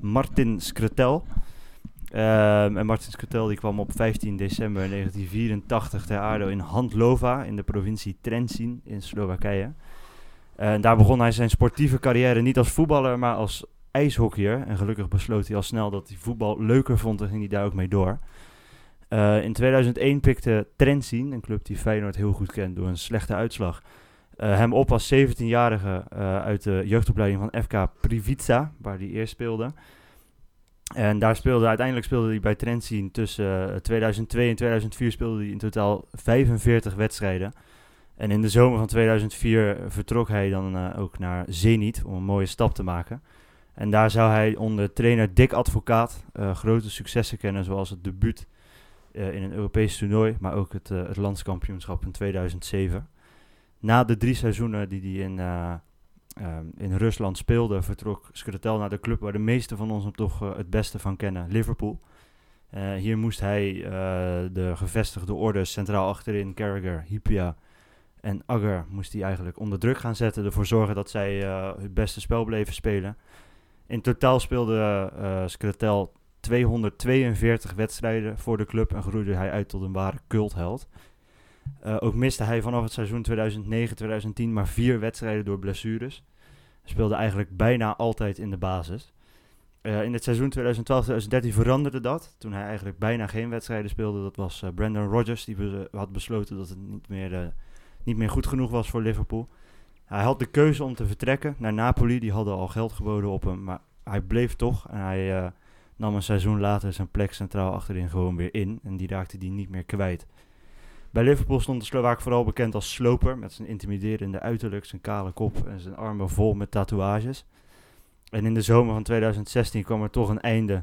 Martin Skretel. Ehm, en Martin Skretel die kwam op 15 december 1984 ter aarde in Handlova in de provincie Trenčín in Slowakije. En daar begon hij zijn sportieve carrière niet als voetballer, maar als ijshockeyer. En gelukkig besloot hij al snel dat hij voetbal leuker vond en ging hij daar ook mee door. Eh, in 2001 pikte Trentin, een club die Feyenoord heel goed kent door een slechte uitslag, eh, hem op als 17-jarige eh, uit de jeugdopleiding van FK Privica, waar hij eerst speelde. En daar speelde, uiteindelijk speelde hij bij Trentin tussen eh, 2002 en 2004 speelde hij in totaal 45 wedstrijden. En in de zomer van 2004 vertrok hij dan eh, ook naar Zenit om een mooie stap te maken. En daar zou hij onder trainer Dick Advocaat eh, grote successen kennen, zoals het debuut eh, in een Europees toernooi, maar ook het, eh, het landskampioenschap in 2007. Na de drie seizoenen die hij in, eh, ehm, in Rusland speelde, vertrok Skretel naar de club waar de meesten van ons hem toch eh, het beste van kennen, Liverpool. Eh, hier moest hij eh, de gevestigde orde centraal achterin, Carragher, Hypia en Agger, moest hij eigenlijk onder druk gaan zetten. Ervoor zorgen dat zij eh, het beste spel bleven spelen. In totaal speelde eh Skretel 242 wedstrijden voor de club en groeide hij uit tot een ware cultheld. Eh, ook miste hij vanaf het seizoen 2009-2010 maar vier wedstrijden door blessures. Hij speelde eigenlijk bijna altijd in de basis. Eh, in het seizoen 2012-2013 veranderde dat, toen hij eigenlijk bijna geen wedstrijden speelde. Dat was eh, Brandon Rodgers, die be- had besloten dat het niet meer, eh, niet meer goed genoeg was voor Liverpool. Hij had de keuze om te vertrekken naar Napoli, die hadden al geld geboden op hem, maar hij bleef toch en hij... eh, nam een seizoen later zijn plek centraal achterin gewoon weer in en die raakte die niet meer kwijt. Bij Bij Liverpool stond de Slovaak vooral bekend als sloper, met zijn intimiderende uiterlijk, zijn kale kop en zijn armen vol met tatoeages. En in de zomer van 2016 kwam er toch een einde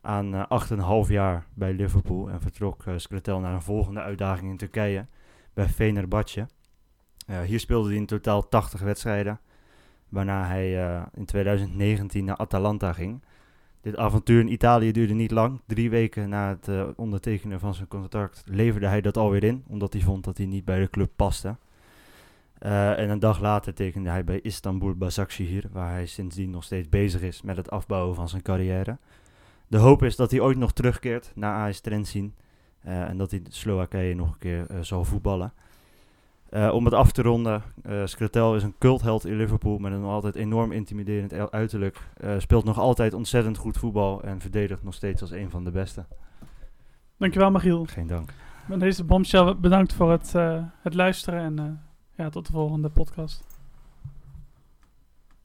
aan eh 8,5 jaar bij Liverpool en vertrok eh Skretel naar een volgende uitdaging in Turkije bij Fenerbahce. Eh, hier speelde hij in totaal 80 wedstrijden, waarna hij eh, in 2019 naar Atalanta ging. Dit avontuur in Italië duurde niet lang. Drie weken na het eh, ondertekenen van zijn contract leverde hij dat alweer in, omdat hij vond dat hij niet bij de club paste. Eh, en een dag later tekende hij bij Istanbul Basaksehir, waar hij sindsdien nog steeds bezig is met het afbouwen van zijn carrière. De hoop is dat hij ooit nog terugkeert naar AS Trentin eh, en dat hij Slowakije nog een keer eh, zal voetballen. Eh, om het af te ronden, eh Skretel is een cultheld in Liverpool met een nog altijd enorm intimiderend el- uiterlijk. Eh, speelt nog altijd ontzettend goed voetbal en verdedigt nog steeds als een van de beste. Dankjewel, Magiel. Geen dank. Met deze bombshell bedankt voor het, eh, het luisteren en eh, ja, tot de volgende podcast.